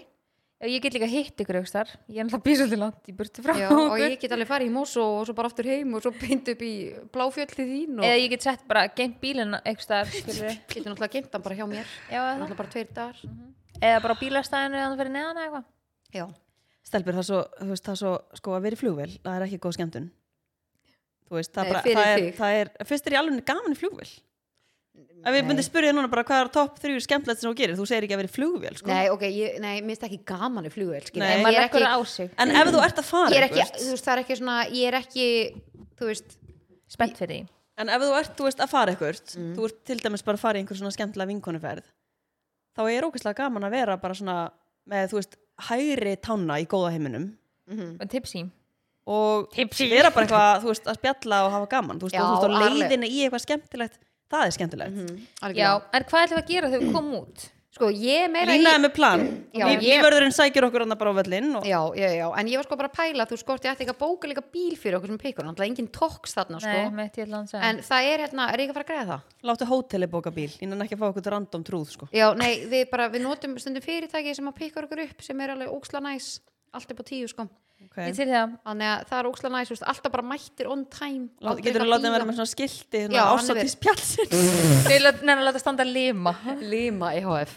Ég get líka hitt ykkur ykkur þar, ég er alltaf bísöldi langt í burtu frá
já, og
ykkur.
ég get alveg farið í mós og svo bara aftur heim og svo beint upp í bláfjöll til þín og
Eh,
eða ég get sett bara geimt bílinn einhvers staðar skilurðu.
getur náttúrulega gemt hann bara hjá mér
Já, eða,
Náttúrulega bara tveir dagar
það. eða bara á bílastæðinu eða fyrir neðan eða eitthvað
Já,
Stelbur, það er svo, þú veist, það er svo, sko, að vera í flugvél, það er ekki góð skemmtun. Þú veist, það,
Nei,
bara,
fyrir
það, er,
þig.
það er, fyrst er ég alveg gaman í flugvél. Ef
Nei.
ég myndi spyrja þig núna bara hvað er topp þrjú skemmtilegt sem þú gerir, þú segir ekki að vera í flugvél, sko.
nei, ok, ég, nei, mér finnst ekki gaman í flugvél skilurðu.
Nei.
En
maður
ég er
leggur
ekki,
það á sig,
En ef þú ert að fara,
ég er ekki,
þú veist,
þú veist, það er ekki svona, ég er ekki, þú veist
spennt fyrir því
En ef þú ert, þú veist, að fara eitthvað,
Mm.
þú ert til dæmis bara að fara í einhver svona skemmtilega vinkonuferð, þá er ógeðslega gaman að vera bara svona með, þú veist, hægri tána í góða heiminum
Mm.
og tipsi
og
Tipsy.
vera bara eitthvað, þú veist, að spjalla og hafa gaman, þú veist,
Já,
og þú veist, á
alveg. Mhm.
leiðinni í eitthvað skemmtilegt, það er skemmtilegt.
já, en hvað ætlum við að gera þegar við komum út
Sko, ég er meira
Lína
í...
er með plan,
Já,
Líf-
ég-
lífvörðurinn sækir okkur annað bara á völlinn og
Já, já, já, en ég var sko bara að pæla Þú skort, ég ætti ekki að bóka líka bíl fyrir okkur sem pikkur Þannig að enginn tóks þarna, sko
nei, mitt ég ætla að segja
En það er hérna, er ég ekki að fara að greiða það?
láttu hóteli bóka bíl, lína ekki að fá okkur random trúð, sko.
Já, nei, við bara, við notum stundum fyrirtæki sem að pikkur okkur upp sem er alveg óksla næs Allt upp á tíu, sko
Okay.
ég til það
Þannig að það er óksla næs, þú veist, alltaf bara mættir on time
Lá-
aldrei
Getur þú
eitthvað
látið að vera
bíða.
með svona skilti, hérna
Já, hann er
svona ásatið
verið-
spjallsins?
Þau lát- neina að láta standa að lima
Lima E EHF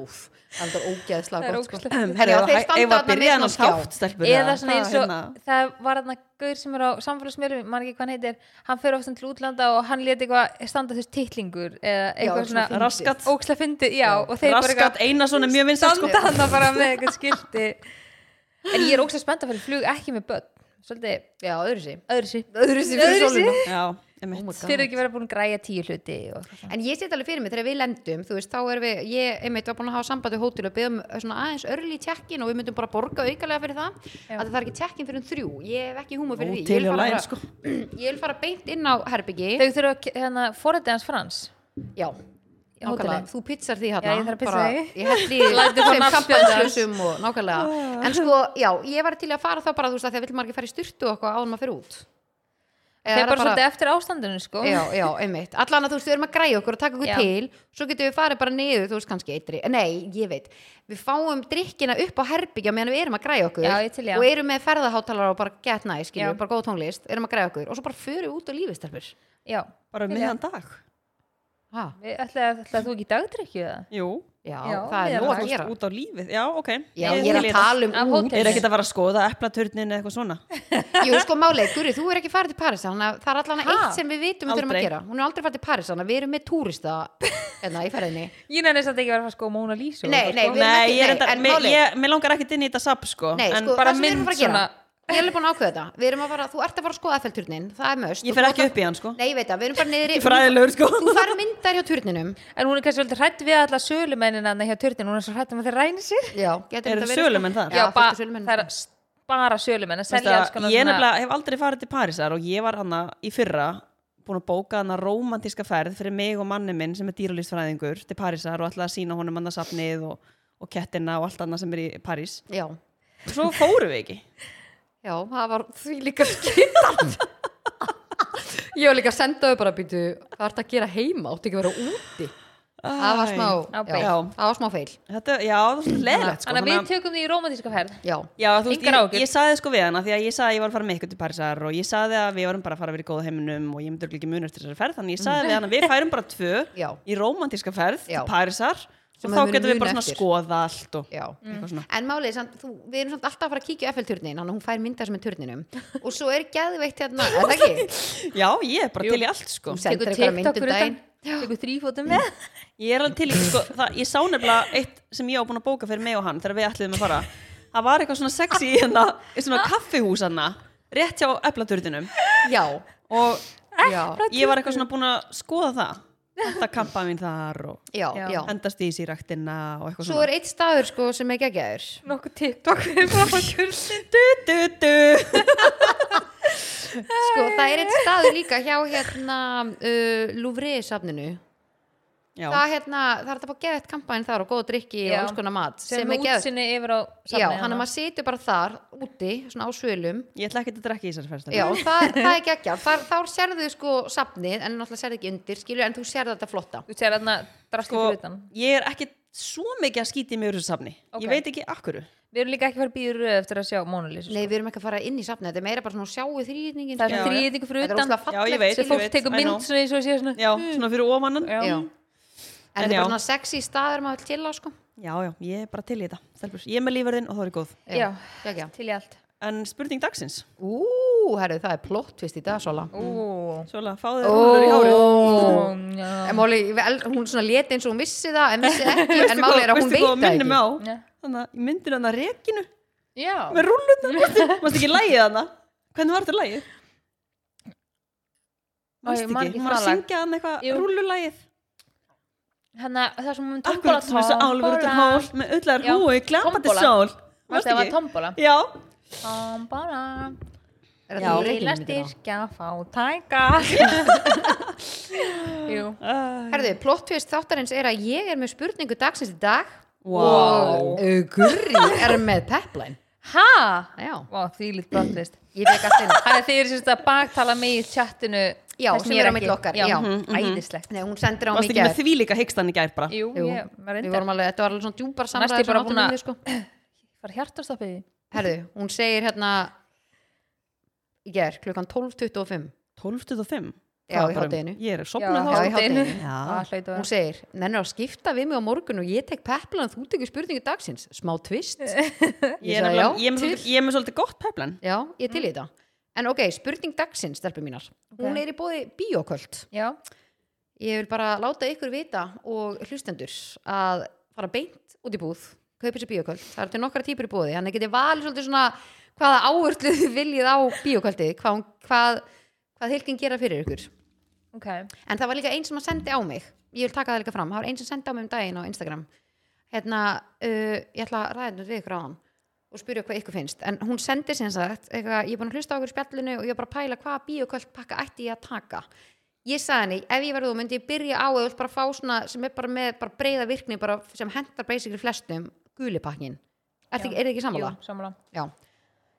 Úf, það er
Það
ógeðslega
er
gott sko.
ógeðslega
Herri, já, þeir
Ef
standa
að
þarna með
byrja hann
svona skjá
að skátt stelpur
eða
eða
svona
hvað
eins og
hérna?
það var þarna gaur sem er á samfélagsmiðlum mann ekki hvað hann heitir, hann fer ofta til útlanda og hann leti eitthvað standa þess titlingur eða eitthvað
ógeðslega
svona
fyndið.
Raskat.
óksla fyndi, já, og þeir bara
Raskat
eitthvað
Einarsson er mjög vinsast sko
standa hann bara með eitthvað skildi en ég er óksla spennt að fyrir flug ekki með börn, svolítið
Já, öðru sér
öðru sér
Öðru sér fyrir
Öðruvísi?
sóluna
Já,
Oh my
emitt
god.
fyrir ekki vera búin að græja tíu hluti og eitthvað svona.
En ég set alveg fyrir mig þegar við lendum Þú veist, þá erum við, ég einmitt var búin að hafa samband við hótel og byggum svona aðeins örli í tjekkin og við myndum bara borga aukalega fyrir það að það er ekki tjekkin fyrir um þrjú, ég hef ekki húma fyrir því Ég
Hótel
vil
og
fara
læn,
bara-
sko.
Ég vil fara beint inn á herbyggi
þau þurfa að ke- hérna, forriti hans frans
Já,
Í hótelið.
nákvæmlega, þú pizzar því hérna
Já, ég þarf að pizza því.
Ég held því
Lætur fá
sem
nafnspjald hans.
kampanjslausum og nákvæmlega
Ah.
En sko, já, ég var til í að fara þá bara, þú veist, að því að vill maður ekki fara í styrtu og eitthvað áður en maður fyrir út Eða
þeir
er það
bara, svolítið eftir ástandinu sko
Já, já, einmitt, allan að þú veist, við erum að græja okkur og taka okkur
Já.
til Svo getum við farið bara niður, þú veist, kannski eitri Nei, ég veit, við fáum drikkina upp á herbyggja meðan við erum að græja okkur
Já, ég til í það.
Og erum með ferðaháttalara og bara get
Já.
nice, skiljum, bara góð tónlist Erum að græja okkur og svo bara förum við út á lífistelpur
já.
Bara um miðan dag
Ha,
Við- ætlaði ætlaði þú ekki dagdrykju það?
Jú,
já,
Já,
það
ég er
er nóg
að-
að gera
út á lífið, já, ok
Já, ég er að tala
Af
um út
hótelinu.
Er ekki að fara að skoða eplaturnin eða eitthvað svona
Jú, sko, málið, Guri, þú er ekki farið til París þannig að það er allan
Ha?
eitt sem við vitum við þurfum að
Aldrei.
gera Hún er aldrei farið til París, þannig að við erum með túrista hérna í ferðinni
Ég nefnir satt ekki að vera að fara sko Mona Lisa
Nei, nei, við erum
Nei,
ekki-
ég er
nei,
enda,
en
mér-
málið-
ég- mér langar ekkert inn í þetta sap sko
Nei,
En
sko, það
bara
sem við erum
mynd
að fara að gera
svona
Ég er alveg búin að ákveða þetta Við erum að fara, þú ert að fara að skoða Eiffelturnin, það er möst
Ég
Og
fer
þú ert
ekki
að-
upp í hann, sko.
Nei, ég veit það, við erum bara niður í
Fræðilegur sko
Þú fær myndar hjá turninum
sko- En hún er kannski svolítið hrætt við alla sölumennina hérna hjá törtin, hún er svo hrætt um að þeir ræni sér
Já, getur þetta
Eru
verið
sölumenn
sko?
þar?
Já,
ba-
fullt af sko. sölumenn
það er s- bara sölumenn að
Veistu
selja
sko,
alls
að
konar
Ég
svona-
nefnilega hef aldrei farið til Parísar og ég var hana í fyrra búin að bóka hana romantíska ferð fyrir mig og manni minn sem er dýralýsfræðingur til Parísar og alltaf að sína honum hana safnið og, og kettina og allt annað sem er í París
Já,
og svo fórum við ekki
já, það var því líka skittan Ég var líka að senda þau bara býtu Hvað ert að gera heima, áttu ekki að vera úti Það var
Æ.
smá,
Á
já,
beil.
það var smá feil
Þetta, já, það var svolítið leðilegt sko
Þannig að
þannig
við tökum því í romantíska ferð
Já,
Já, þú veist,
Engar
ég,
áhyggjur.
ég saði sko við hana því að ég saði að ég var að fara með ykkur til Parísar og ég saði að við varum bara að fara að vera í góða heiminum og ég myndi örugglega ekki muna eftir þessari ferð þannig ég saði við hana að við færum bara tvö
Já.
í rómantíska ferð
Já.
til Parísar
Sem
og
að
þá
við
getum
munum
við bara
muna
svona
eftir.
skoða allt og
Já.
Mm. eitthvað svona
En málið, er samt, þú, við erum samt alltaf að fara að kíkja á FL-turnin, hann hún fær mynda sem er turninum og svo er geðveitt hérna, er það ekki?
Já, ég er bara til í allt sko
Þú sendir
Tekur
einhverja mynd
TikTok
um
fyrir
daginn.
utan, tekur þrýfótum með
Ég er alveg til í, sko, það, ég sá nefnilega eitt sem ég á búin að bóka fyrir mig og hann þegar við ætliðum að fara það var eitthvað svona sexy í hérna, í svona kaffihús hana, rétt hjá eflaturðinum
Já,
og
já,
ég var eitthvað svona búin að skoða það þetta kampa mín þar og
já,
Já.
já.
endast í sér ræktina og eitthvað
Svo
svona
er eitt staður sko sem er geggjaður.
Nokkuð TikTok fyrir frá kursin
du, du, du.
Sko, það er eitt staður líka hjá hérna uh, Louvre-safninu.
Já,
Það, hérna, það er það bara geðveitt kampæn þar og góð drikki
Já.
og alls konar mat
sem,
sem er geðveitt.
útsinni yfir á
Já, hann
hana.
að maður situr bara þar úti, svona á svölum
ég ætla ekki að drekka í þessari færst
Já, það, það er geggjað. Þar, þá sérðu sko safnið, en náttúrulega sérðu ekki undir, skilur, en þú sérðu þetta flotta.
Þú sér þarna drastið
sko,
fyrir utan
ég er ekki svo mikið að skýti mig úr þessu safni
Ok.
ég veit ekki akkuru
Við erum líka ekki farið býður eftir að sjá Mona Lisa sko.
Nei, við erum ekki að fara inn í safnið, þetta er meira bara svona sjáu þrýðningin.
Það er svona
Já, já.
þrýðingur fyrir
Þetta er
utan
óslega
Já, ég
fallegt.
veit,
Svo
ég
fólk
veit,
tekur
I know.
mynd svona eins og sé svona
Já, svona fyrir ómannan
Já.
Já. En þetta er
já.
bara svona sexy staður maður vill til á, sko.
Já, já, ég er bara til í þetta, stelpur. Ég er með lífverðin og það er góð.
Já,
Já, já.
til í allt
En spurning dagsins,
Ú, herru, það er plott, veist, í dag, Sola.
Ú,
svolega, fáðu þér rúllur í hárið.
Ó.
já.
En máli, hún svona leti eins og hún vissi það, en vissi ekki, en
Veistu
máli er
hvað-
að hún
veistu hvað
veit það
minnir mig
ekki.
á?
Já.
Þannig að myndir hann að rekinu
Já.
með rúllurna, mástu ekki lægið hann Hvernig var þetta lægið? Manst
ég man
ekki,
ekki
hún var að
hvaða lag.
syngja hann eitthvað
Jú.
rúlulagið
Hanna, Hérna, það sem hún tombola
Akkurat sem þessu álfur út í hól með öllar
Já,
húi, glampandi
tombola.
sól
Varstu það var tombola
Já,
Tombola
Er
Já,
það til
Lilla
reiknimyndir á?
styrkja fátæka Jú
Æ.
Herðu, plot twist þáttarins er að ég er með spurningu dagsins í dag
Vá.
og uh, Gurri er með pepline.
Ha?
Já,
Vá, því lít brottlist
ég fekk allt inn.
Þannig þið eru sérst að baktala mig í chattinu
Já,
það
sem
ég
er á
ekki.
milli okkar, já. Mhm,
Æðislegt
Nei, hún sendir á
Varst
mig
ekki með
gæð.
því líka hikstan í gær bara
Jú,
Jú,
ég var
Við
reyndar
vorum alveg, þetta var alveg svona djúpar
Næst ég bara
samræður sem áttum
búin að-
við, sko.
Var hjartastoppið í?
Herðu, hún segir hérna í gær klukkan 12.25
12.25
Já, í
Það var bara um-
hádeginu.
Ég er sopnað
Já,
þá
í hádeginu.
Já.
Það hlaut að
Hún segir, nennir að skipta við mig á morgun og ég tek pepline þú tekur spurningu dagsins. Smá twist.
Ég
sagði
er
já,
nefnilega- ég er með
til.
svolítið- ég er með svolítið gott peplan
Já, ég er til í þetta. En ok, spurning dagsins, stelpur mínar. Hún er í bóði bíoköld.
Já,
Ég vil bara láta ykkur vita og hlustendur að fara beint út í búð, kaupa sér bíoköld. Það eru til nokkra típur í búði, þannig getið valið svolítið svona hvaða áherslu þið viljið á bíoköldi, hvað, hún- hvað, hvað hilkin gera fyrir ykkur.
ok
En það var líka einn sem að sendi á mig, ég vil taka það líka fram, það var einn sem sendi á mig um daginn á Instagram. Hérna, uh, ég ætla að ræða þetta við ykkur á hann og spyrja hvað ykkur finnst. En hún sendi sem sagt, eitthvað, ég er búin að hlusta á okkur í spjallinu og ég er bara að pæla hvaða bíoköld pakka ætti ég að taka ég sagði henni, ef ég verði þú myndi ég byrja á eða vilt bara fá svona sem er bara með bara breyða virkni bara, sem hendar basically flestum gulipakkin er þið ekki samanlega?
Jú, sammála
Já.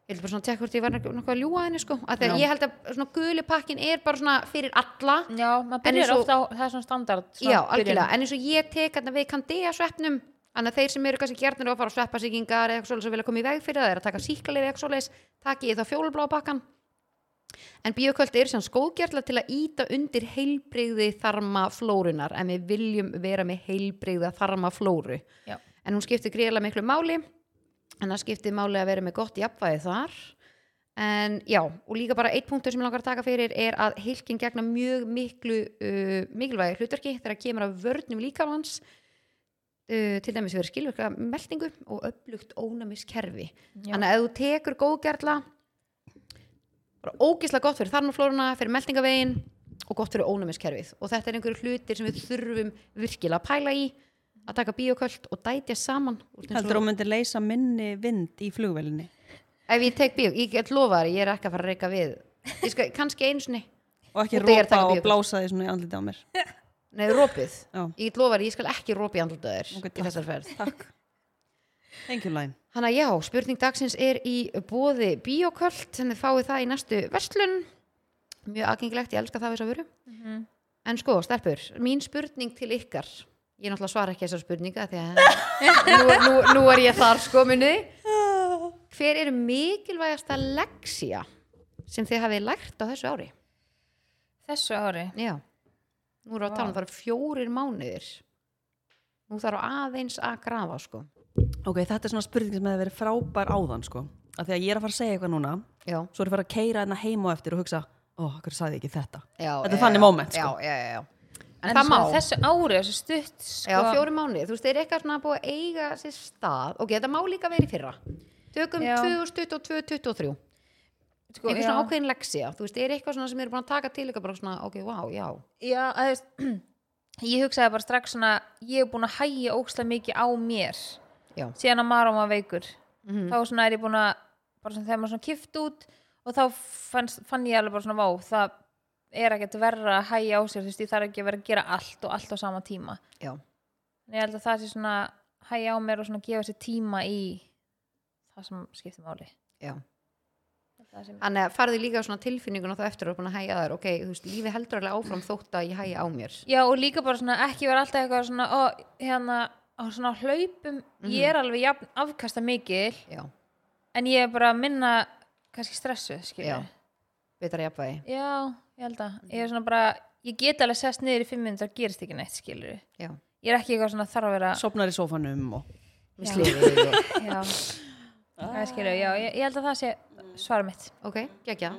Ég held bara svona að tekka hvort ég verði nokkuð að ljúa henni sko að því
Já.
að ég held að svona gulipakkin er bara svona fyrir alla
Já, maður
En
byrjar
eins og-
ofta á, það er svona standard svona
Já,
byrjun.
algjörlega, en eins og ég tek að við kandega sveppnum þannig að þeir sem eru kannski gjarnir á að fara á sveppasíkingar eða eitthvað svoleiðis að vilja koma í veg fyrir það er að taka síklarleif eitthvað svoleiðis, taki ég þá fjólubláa bakkan en bíoköld er sem skóðgerla til að íta undir heilbrigði þarma flórunar en við viljum vera með heilbrigða þarma flóru
Já.
en hún skiptir greiðlega miklu máli en það skiptir máli að vera með gott jafnvæði þar en já, og líka bara eitt punktur sem ég langar að taka fyrir er að hilkin gegna mjög miklu uh, mikilvægi hlutverki þegar kemur að vörnum líkafans uh, til dæmis fyrir skilvirka meldingu og upplugt ónæmiskerfi
Já.
þannig að ef þú tekur góðgerla bara ógislega gott fyrir þarmaflóruna fyrir meldingavegin og gott fyrir ónæmiskerfið og þetta er einhverju hlutir sem við þurfum virkilega að pæla í að taka bíoköld og dætja saman Þú ert eins og-
Heldur hún myndi leysa minni vind í flugvelinni
ef ég tek bíó, ég get lofa þér ég er ekki að fara að reyka við ég skal, kannski einsinni,
og
Og
ekki
þegar
rópa
taka
og
bíókvöld.
blása því svona í andliti á mér
neðu rópið
Já.
ég get lofa þér, ég skal ekki rópi andluta þér
Ok,
í
takk.
þessar ferð
Takk Thank you line
Hanna já, spurning dagsins er í bóði bíoköld sem þið fáið það í næstu verslun mjög aðgengilegt, ég elska það við svo veru en sko, stelpur, mín spurning til ykkar ég náttúrulega svara ekki þessar spurninga því að nú, nú, nú er ég þar sko munni hver er mikilvægasta leksía sem þið hafið lært á þessu ári?
Þessu ári
Já, nú erum við að tala um það eru fjórir mánuðir Nú þarf aðeins að grafa sko
Ok, þetta er svona spurning sem hefði verið frábær áðan sko af því að ég er að fara að segja eitthvað núna
Já,
svo er ég að fara að keira hérna heim og eftir og hugsa ó, oh, hverju sagði ég ekki þetta
já
Þetta er
já,
þannig
já,
moment, sko.
Já, já, já, já En,
En
það má
svona Þessu ári, þessu stutt sko.
Já, fjórir mánuðir, þú veist, þeir eru eitthvað svona búið að eiga sér stað Ok, þetta má líka verið fyrra Tökum
Já.
2022, 2023
sko,
Einhver
já.
svona ákveðin leksía Þú veist, þeir eru eitthvað svona sem eru búin að taka til eitthvað bara svona, ok, vá, já
Já, að þú veist Ég hugsaði bara strax svona Ég er búin að hægja ókslega mikið á mér
Já, Mm.
síðan að Maron var veikur þá svona er ég búin að bara svona, þegar maður svona kift út og þá fanns, fann ég alveg bara svona vá það er ekkert verra að hægja á sér þú veist ég þarf ekki að vera að gera allt og allt á sama tíma
já,
en ég held að það sé svona hægja á mér og svona gefa sér tíma í það sem skiptir máli
já
Það sem-
Þannig að farðu líka á svona tilfinninguna þá eftir að þú er búin að hægja þær Ok, þú veist, lífi heldur alveg áfram þótt að ég hægja á mér
Já og líka bara svona ekki vera alltaf eitthvað svona ó, hérna á svona hlaupum ég er alveg jafn afkasta mikil
Já,
en ég er bara að minna kannski stressu skilja
Já. betra jafnvægi
Já, ég held að Ég er svona bara, ég get alveg sest niður í fimm minnum það gerist ekki neitt, skilur
Já,
Ég er ekki eitthvað svona þarf að vera
sopnar í sófanum og
mér sliði
Já, ah. skilur, já, ég, ég held að það sé svara mitt
Ok, gekkja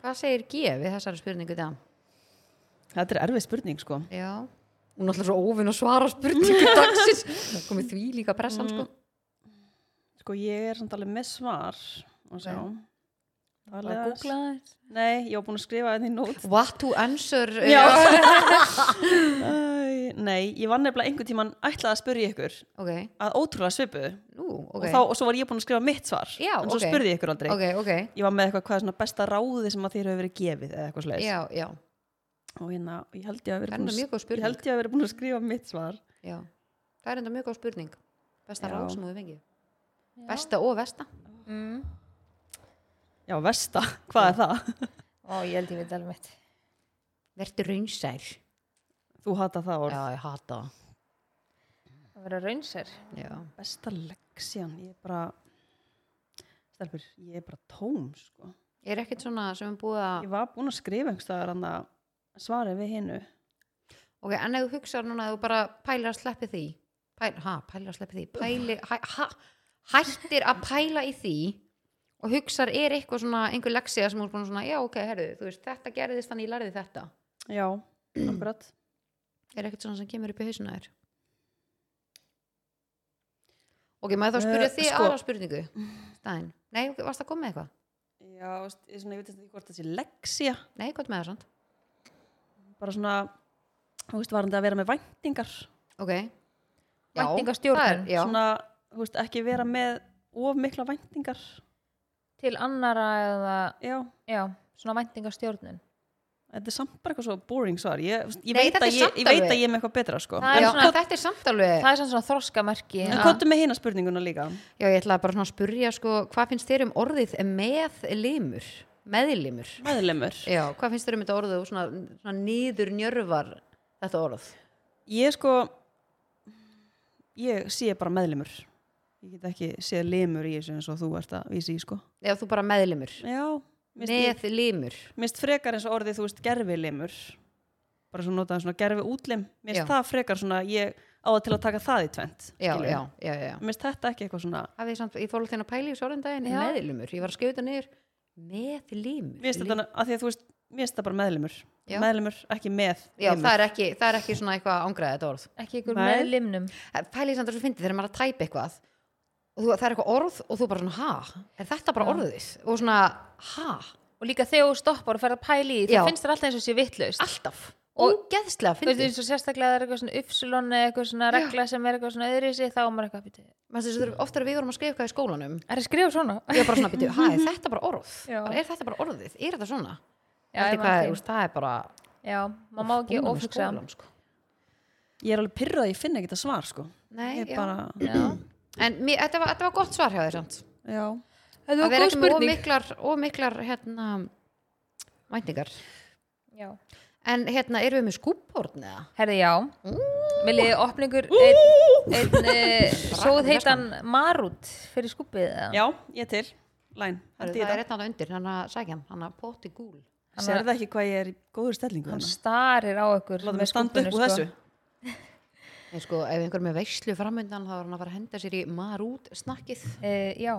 Hvað segir G við þessari spurningu það?
þetta er erfið spurning sko
Já Hún er alltaf svo óvinn að svara spurningu dagsins Það komið því líka pressan sko
sko ég er samt alveg með svar og sjá
bara að googla það
Nei, ég var búin að skrifa þetta í nót
What to answer uh,
Æ, Nei, ég var nefnilega einhvern tímann ætlaði að spyrja ykkur
Ok,
að ótrúlega svipu
nú, ok
og, þá, og svo var ég búin að skrifa mitt svar
Já,
en svo
ok.
spurði ég ykkur aldrei
Ok, ok,
Ég var með eitthvað hvað er svona besta ráði sem að þér hefur verið gefið eða eitthvað slegis
já, já,
og hérna, ég held ég að
það
vera
er enda
búin
mjög
að
góð
ég
spurning
held ég að vera búin að skrifa mitt svar
já. Það er enda mjög góð spurning Besta
Já.
ráð sem þú fengið
Já.
Besta og vesta
mm.
Já, versta, hvað er það?
Ó, ég held ég veit alveg mitt
Vertu raunsær Já,
Þú hata það orð
ég hata
að vera raunser
það Já,
Besta leksjan, ég er bara Stelpur, ég er bara tóm sko.
er ekkert svona sem er búið að
Ég var búin að skrifa einhverstaðar hann að svara við hinnu
Ok, en ef þú hugsaður núna að þú bara pælir að sleppi því Pæl, ha, pælir að sleppi því pæli, hæ, ha, Hættir að pæla í því og hugsaður er eitthvað svona einhver leksía sem þú er búin svona, já ok, herðu, þú veist, þetta gerðist þannig ég lærði þetta
Já, akkurat
Er ekkert svona sem kemur upp í hausuna þér Ok, maður þá spyrja
Eh,
því
sko-
aðra spurningu Stæn, nei, ok, varst að koma með eitthvað?
Já, veist, ég, svona, ég veit ekki hvort það sé leksja
Nei, gott með það samt
bara svona, þú veist, varandi að vera með væntingar
Ok, Já,
Væntingastjórnun.
það er- Já,
svona, þú veist, ekki vera með of mikla væntingar
til annara eða
Já,
já, svona væntingastjórnun
þetta er samt bara eitthvað svo boring svar ég, þú veist,
Nei,
ég, veit,
þetta er
að ég,
samt
ég veit
alveg.
að ég er með eitthvað betra sko.
Það er
já
svona-
en þetta er samt alveg
það er svona svona þroskamerki
En
að-
hvað er með hina spurninguna líka?
Já, ég ætlaði bara svona að spurja sko, hvað finnst þér um orðið með limur? Meðlimur?
Meðlemur.
Já, hvað finnst þér um þetta orðið og svona, svona nýður njörvar þetta orð?
Ég sko, ég sé bara meðlemur. Ég get ekki séð limur í þessu eins og þú ert að vísi í sko.
Já, þú bara meðlimur.
Já, minnst, ég,
Með limur.
minnst frekar eins og orðið þú veist gerfi limur. Bara svona notaði svona gerfi útlim.
Já.
Minnst það frekar svona, ég á það til að taka það í tvent.
Já, já, já, já.
Minnst þetta ekki eitthvað svona,
Hafið þið samt, ég fór hérna alltaf inn að pæla í þessu orðindaginn,
Já.
meðlimur. Ég var að skjóta niður með limur.
minnst
Lim-
þetta, að því að þú veist, minnst það bara meðlemur.
Já.
Meðlemur, ekki með
Já,
limur.
það er, ekki, það er ekki svona eitthvað ángraðið þetta orð.
ekki ykkur
Nei.
með limnum
Pæla í samt að þú finnir þegar maður er að tæpa eitthvað og þú, það er eitthvað orð og þú bara svona, ha? Er þetta bara orðið? Og svona, ha?
og líka þegar þú stoppar og ferð að pæla í því
Já.
þá finnst þér alltaf eins og sé vittlust
Alltaf.
Og-
Og geðslega
þú veist
fyndið.
eins og sérstaklega það er eitthvað svona uppsilon eða eitthvað svona regla sem er eitthvað svona öðri sig þá er maður eitthvað býtið
Mér finnst þess að oftar að við vorum að skrifa eitthvað í skólanum
er það skrifað svona?
ég var bara svona býtu, hæ, er þetta bara orð?
Mhm. Já.
Bara, er þetta bara orðið? Er þetta svona?
Já,
Eftir
ég man
hvað,
því.
þú veist, það er bara
já, maður má ekki um-
Skólanum,
ofugsa
skólanum, sko.
Ég er alveg pyrrað að ég finna ekki þetta svar sko.
Nei,
Ég
já.
bara,
En mér, þetta, var, þetta var gott svar hjá þér samt
já.
það
að vera ekki með ómiklar, ómiklar hérna, mæntingar
já,
En hérna, erum við með skúbhórn eða?
herði já viljið þið opna ykkur einn ein, ein,
um
sóðheitan marút fyrir skúpið eða?
Já, ég til. Læn,
Það,
hætti ég
er
það.
einn að undir, hann að sækja hann, hann að poti gúl
Hann-
Serðu ekki hvað ég er í góður stellingu
hann
hérna?
starir á ykkur
Láta
með sko.
mig standa upp
skúbbinu,
úr þessu.
En sko, ef einhver er með veislu framundan þá er hann að fara að henda sér í marút snakkið
Eh, já,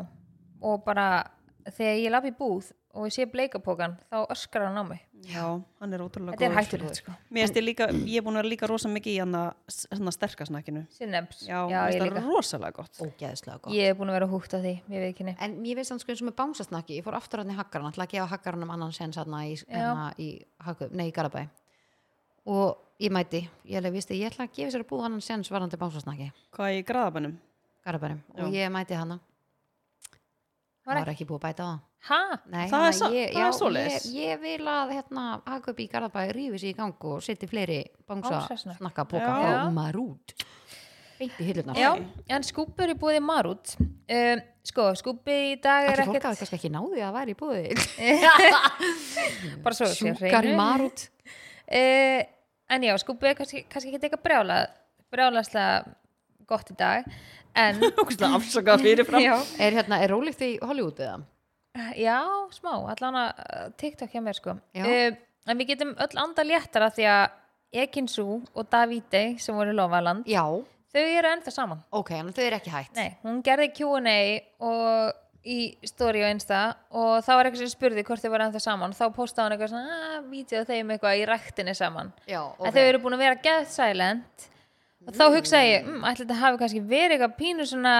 og bara þegar ég laf í búð og ég sé bleikapókan þá öskrar hann á mig
Já, hann er ótrúlega
þetta
góður.
er hættulegt sko
Mér finnst ég líka, ég er búin að vera líka rosa mikið í hann að hérna, sterka snakkinu.
Synnems,
Já,
já
mér
ég
finnst
líka
það rosalega gott.
Ógeðslega gott
Ég er búin að vera húgt að því, ég veit ekki neitt.
En mér finnst hann sko eins og með bánsasnakki, ég fór aftur hann í haggaran, ætla að gefa haggaranum annan sens hann í, hérna í, Hagkaup- nei, í Garabæ. Og ég mæti, ég alveg visti, ég ætla að gefa sér að búa annan sens varandi bánsasnakki,
Hvað er í graðabænum?
Garabænum. Og ég mæti hana,
Var
það var ekki búið að bæta á það.
Hæ?
Nei,
Það er
hana,
sa-
ég,
það er svoleiðis.
ég, ég vil að hérna, hagkaup í Garabæ rífi sér í gang og setja fleiri
Bánsasnakk.
bánsasnakka bóka
Já.
á marút. Beinti hillurnar.
Já, en skúpur í búði marút. Um, sko, skúpi í dag er
Ætli fólk
ekkert
hafi kannski ekki náði að væri í búið.
bara svo sé
Sjúkar í marút.
Uh, en já, skúpi er kannski, kannski ekki eitthvað brjálað, brjálaslega gott í dag. En,
Ógustlega afsakað fyrirfram.
já,
Er, hérna, er rólíkt í Hollywood eða?
já, smá, allan að uh, TikTok hjá mér sko.
Já.
Uh, en við getum öll anda léttara því að Ekinsu og Davide sem voru í Lofaland,
Já.
þau eru ennþá saman.
Ok, en þau eru ekki hægt.
Nei, hún gerði Q&A og í story og einsta og þá var eitthvað sem spurði hvort þau var ennþá saman þá postaði hún eitthvað svona að vídeo þeim eitthvað í ræktinni saman
Já,
en þau eru búin að vera get silent og þá hugsaði ég, mm, ætli þetta hafi kannski verið eitthvað pínu svona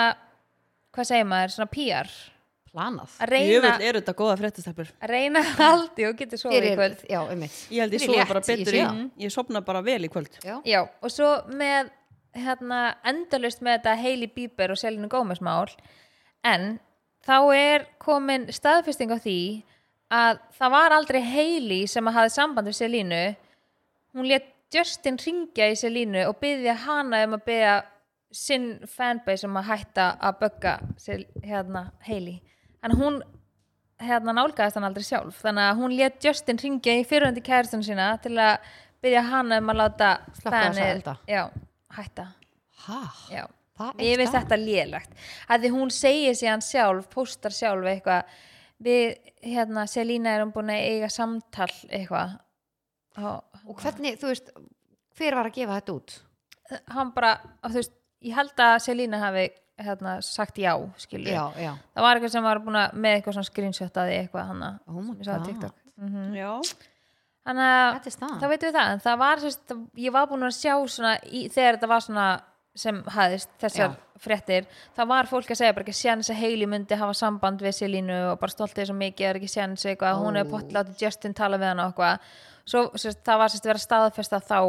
hvað segir maður, svona PR
planað
að
Jöfull
reyna,
eru þetta góða fréttastelpur
að reyna haldi og getur svo í
Fyrir-
kvöld
já, um mitt
Ég held ég sofa bara betur í,
já.
ég sopna bara vel í kvöld
Já.
Já, og svo með hérna, endalust með þetta Hailey Bieber og Selinu Gómez mál en þá er komin staðfesting á því að það var aldrei Hailey sem að hafi samband við Selinu hún let Justin ringja í Selinu og byggja hana um að byggja sinn fanbase um að hætta að bögga Sel- hérna, Hailey en hún hérna nálgæðist hann aldrei sjálf þannig að hún let Justin ringja í fyrirhundi kæristun sína til að byrja hana um að láta
Slökkva þessa
fanið-
elda.
já, hætta
Ha,
já.
það
ég
er
veist þetta lélegt að því hún segir síðan sjálf, póstar sjálf eitthvað við, hérna, Selina erum búin að eiga samtal eitthvað og
og hvernig, þú veist, hver var að gefa þetta út
hann bara, og þú veist, ég held að Selina hafi hérna, sagt já, skilju
já, já,
það var eitthvað sem var búin að með eitthvað svona screenshot að því eitthvað hann
Oh my God. Mm.
að
Já,
þannig að
þetta er staðan
eh, þá veitum við það en það var, sérst, ég var búin að sjá svona í, þegar þetta var svona sem hafðist þessar fréttir þá var fólk að segja bara ekki séns að Hailey myndi hafa samband við Selínu og bara stoltið svo mikið það er ekki séns eitthvað, hún hefur potið látið Justin tala við hana og eitthvað svo sérst, það var sérst verið að staðfesta þá,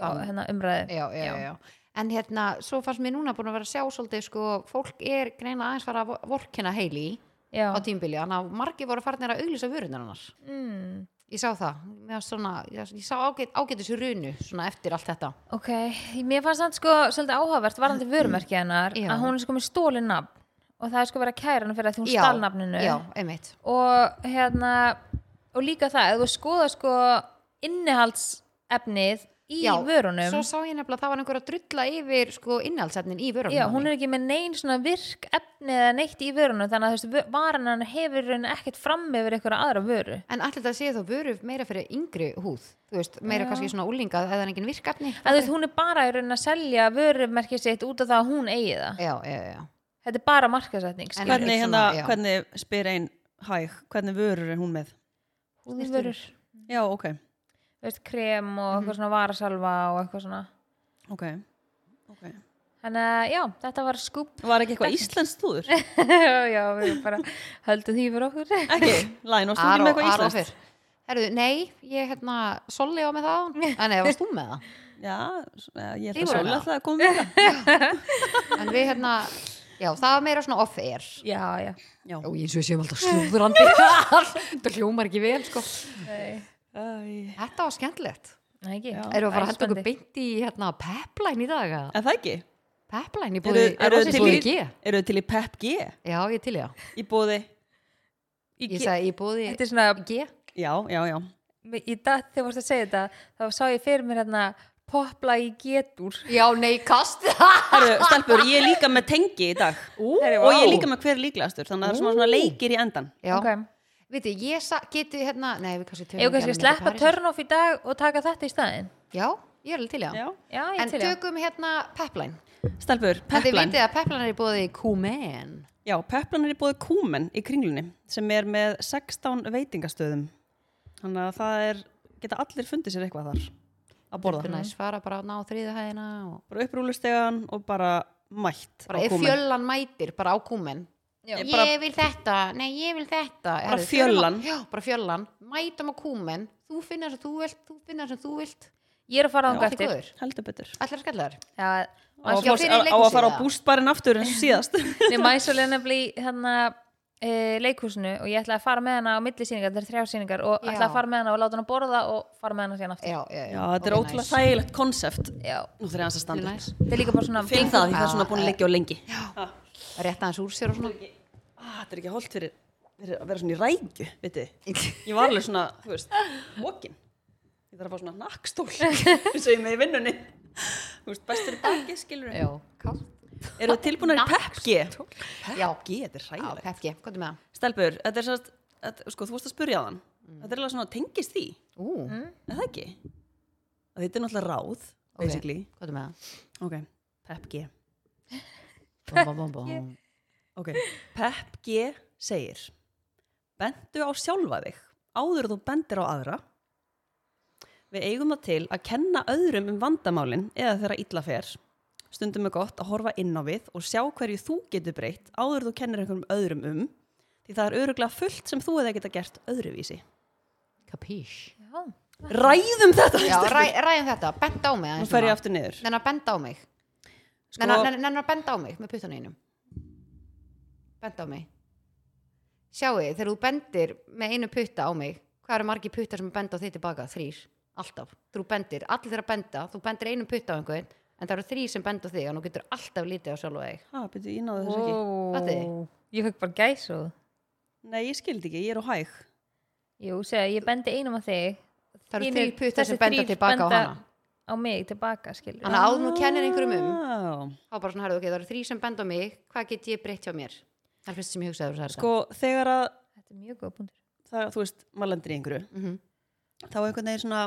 þá hérna, umræði
já, já, já, já. En hérna, svo fannst mér núna búin að vera að sjá svolítið, sko, fólk er greina aðeins fara að vo- vorkenna heili
Já.
á tímbili, þannig að margir voru farnir að auglýsa vörunar annars.
Mm,
Ég sá það, Mér fannst svona, ég, ég sá ágæt, ágætis runu svona eftir allt þetta.
ok, mér fannst það sko svolítið áhugavert varandi vörumerki hennar
Já.
að hún er sko með stólin nafn og það er sko verið að kæra hennar fyrir að því hún
Já,
stál nafninu
Já, einmitt.
og hérna og líka það, ef þú skoða sko innihaldsefnið í
já,
vörunum
Svo sá ég nefnilega að það var einhver að drulla yfir, sko, innhaldsefnin í vörunum.
já, hún er ekki með neinn svona virk efni eða neitt í vörunum þannig að þú veist, varan hann hefur í rauninni ekkert fram yfir einhverja aðra vöru
En allir þetta séu þó vöru meira fyrir yngri húð, þú veist, meira kannski svona úlinga eða engin virkefni.
en þú veist, hún er bara í rauninni að selja vörumerkið sitt út af það að hún eigi það
Já, já, já.
þetta er bara markasetning
En-
skilurðu.
hvernig,
svona,
hérna,
já.
hvernig spyr ein hæg, hvernig vörur er hún með?
húðvörur,
Já, ok,
þú veist, krem og eitthvað svona varasalva og eitthvað svona
ok, okay.
þannig að já, þetta var skúp
Var ekki eitthvað íslenskt þúður?
já, við bara höldum því fyrir okkur
Ekki, læn og stundum
Aro
eitthvað íslenskt
fyrr. Herðu, nei, ég hérna Solli á með það áðan. en eða varst þú með það
Já, s- eh,
Þið
ég held að
voru
Sóla
með.
alltaf að koma með það
en við hérna, já það var meira svona off-air
já, já
Já,
og eins og við séum alltaf slúðurandi það hljómar ekki vel sko
Nei.
þetta var skemmtilegt
Nei, ekki.
Já.
erum við að fara að henda okkur
Æspandi.
beint í hérna pepline í dag eða?
en það ekki
pepline í
Eru
búði,
eru þau
í
til,
búði
í-
G
eru þau til í Pep G?
já ég er til já,
Í bóði
Ég,
ég sagði í búði
Þetta er svona,
G
Já, já, já
í dag þegar vorst að segja þetta þá sá ég fyrir mér hérna popla í getur
já nei kast
Herru, stelpur, ég er líka með tengi í dag Ú,
Herru,
Og ég er
vá.
líka með hver líklegastur Þannig að það er svona, svona leikir í endan
já,
Ok.
veitu ég sa, geti hérna nei við kannski tölum
Ég kannski
ekki alveg
sleppa
mikið Parísar.
turn off í dag og taka þetta í staðinn
já, ég er alveg til já,
Já, ég
en
til ég
tökum hérna pepline
Stelpur,
En þið
Pepline
vitið að peplan er í bóði Kúmen.
Já, Pepline er í bóði Kúmen í kringlunni sem er með 16 veitingastöðum Þannig að það er geta allir fundið sér eitthvað þar að
Þú
borða
næst fara bara á þriðu hæðina og
Bara upprúlustegan og bara mætt
bara
á
ef
Kúmen.
fjöllan mætir bara á Kúmen.
Já.
Ég,
Bara-
vil þetta, nei ég vil þetta.
Bara
Herðu,
fjöllan.
förum á- Já, bara fjöllan. Mætum á Kúmen. Þú finnir sem þú vilt, þú finnir sem þú vilt.
Ég er að fara
Það
þangað
er
eftir
góður.
Heldur betur
Allir skallar.
Já,
Á að
Já, fyrir
fá- á- á að
leikhúsið
fara á
eða?
bústbarinn aftur eins og síðast
Nei, Mæsul er nefnilega í hérna e, leikhúsinu og ég ætlaði að fara með hana á milli sýningar, þetta er þrjá sýningar og
Já.
ætlaði að fara með hana og láta hana borða og fara með hana síðan aftur
Já, já,
Já, þetta er
Ok,
ótrúlega
nice.
þægilegt konsept
Já.
Nú þarf ég aðeins að
Þetta
standa
er
upp
næs.
Þetta er líka bara svona
Finn það því það er svona búin að leggja á lengi
Rétt aðeins úr sér og svona.
ah, Þetta er ekki holdt fyrir, fyrir að vera svona í rækju veitu. Ég var alveg svona, þú veist, walking Ég þarf að fá svona nakkstól eins og ég með í vinnunni Þú veist, bestur í baki, skilur
já, kall.
Eru þið tilbúinari pepgi?
Já.
Pepgi, þetta er
Já,
ræðilegt
pepki, hvað er með það?
Stelbur, þetta er svona, sko, þú varst að spurja á þann Þetta er alveg svona, tengist því,
Ú,
er það ekki? Að Þetta er náttúrulega ráð,
Ok.
basically
hvað er með það?
Ok, pepgi
Bum, bum, bum, bum.
Ok, Pep G segir Bentu á sjálfa þig áður en þú bendir á aðra Við eigum það til að kenna öðrum um vandamálin eða þeirra illa fer Stundum er gott að horfa inn á við og sjá hverju þú getur breytt áður þú kennir einhverjum öðrum um því það er öruglega fullt sem þú hefði geta gert öðruvísi.
Kapís
Já,
Ræðum þetta!
Já, ræ, ræðum þetta, benda á mig
Nú
aðeins
fer ég aftur niður.
Nennar benda á mig
Sko,
Nennar nennar að benda á mig með puttunum einum Benda á mig Sjáu, þegar þú bendir með einu putta á mig Hvað eru margir puttar sem benda á þig tilbaka? Þrýr, alltaf Þú bendir, allir þeirra benda Þú bendir einu putta á einhvern En það eru þrýr sem benda á þig Og nú getur alltaf lítið á sjálf og þig
ha, byrju, ég náðu þessu ekki.
Ó, ég fekk bara gæs og
Nei, ég skildi ekki, ég er á hæg.
Jú, segja, ég bendi einum á þig
Það eru
Hinir-
þrýr puttar sem
þessir
benda
þrír
tilbaka á
benda
hana
á mig tilbaka, skilur
Þannig að áður nú kennir einhverjum um
um.
þá bara svona, herðu, ok, það eru þrý sem benda á mig hvað get ég breytt hjá mér? Það er fyrst sem ég hugsaði þú sagði
Sko, þegar að,
Þetta er mjög góð punktur
það, þú veist, maður lendir í einhverju,
þetta. Mhm.
þá er einhvern veginn svona,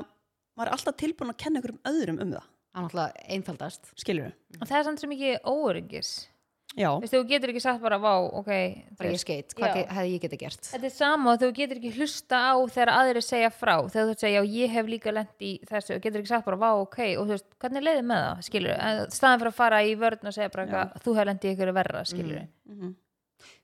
maður er alltaf tilbúin að kenna einhverjum öðrum um það.
Það er náttúrulega einfaldast.
Skilur við?
Og það er samt sem ekki óöryggis
Já.
Veistu, þú getur ekki sagt bara, vá, ok þú
Bara ég
veist,
skeitt, hvað
Já.
ge- hefði ég geta gert?
Þetta er sama og þú getur ekki hlusta á þegar aðrir segja frá þegar þú segja, já, ég hef líka lent í þessu og getur ekki sagt bara, vá, ok, og þú veist, hvernig leiði með það, skilur staðan fyrir að fara í vörn og segja bara, eitthvað, þú hef lent í ykkur verra, skilur
Mm.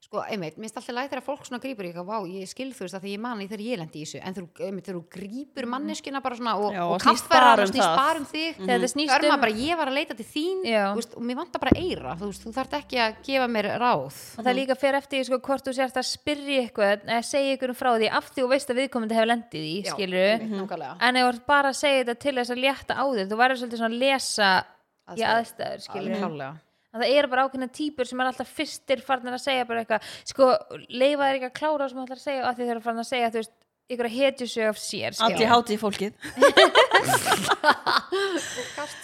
Sko, einmitt, mér finnst alltaf læg þegar fólk svona grípur í eitthvað, vá, ég skil þú veist að því ég mani þegar ég lendi í þessu, en þú, einmitt, þegar þú grípur manneskina bara svona og,
Já,
og
og snýst
kaffar
bara
hana
um
og snýst
það.
bara um þig,
Þegar þetta snýst
það er
um-
maður bara, ég var að leita til þín,
Já.
þú veist, og mér vantar bara eira, þú veist, þú þarft ekki að gefa mér ráð.
og það líka fer eftir því, sko, hvort þú sért að spyrja eitthvað eða segja ykkur frá því af því og veist að viðkomandi hefur lendið í því,
Já, Mhm.
skilur
einmitt, nákvæmlega.
en ef þú ert bara að segja þetta til þess að létta á þér þú verður svolítið svona að lesa í
Aðstæður.
aðstæður, skilur
Alveg klárlega.
að það eru bara ákveðna típur sem er alltaf fyrstir farnir að segja bara eitthvað sko, leifa þér ekki að klára það sem þú ætlar að segja að því þeir eru farnir að segja, þú veist, ykkur að hetju sig af sér, skilur
Allir hátíð fólkið.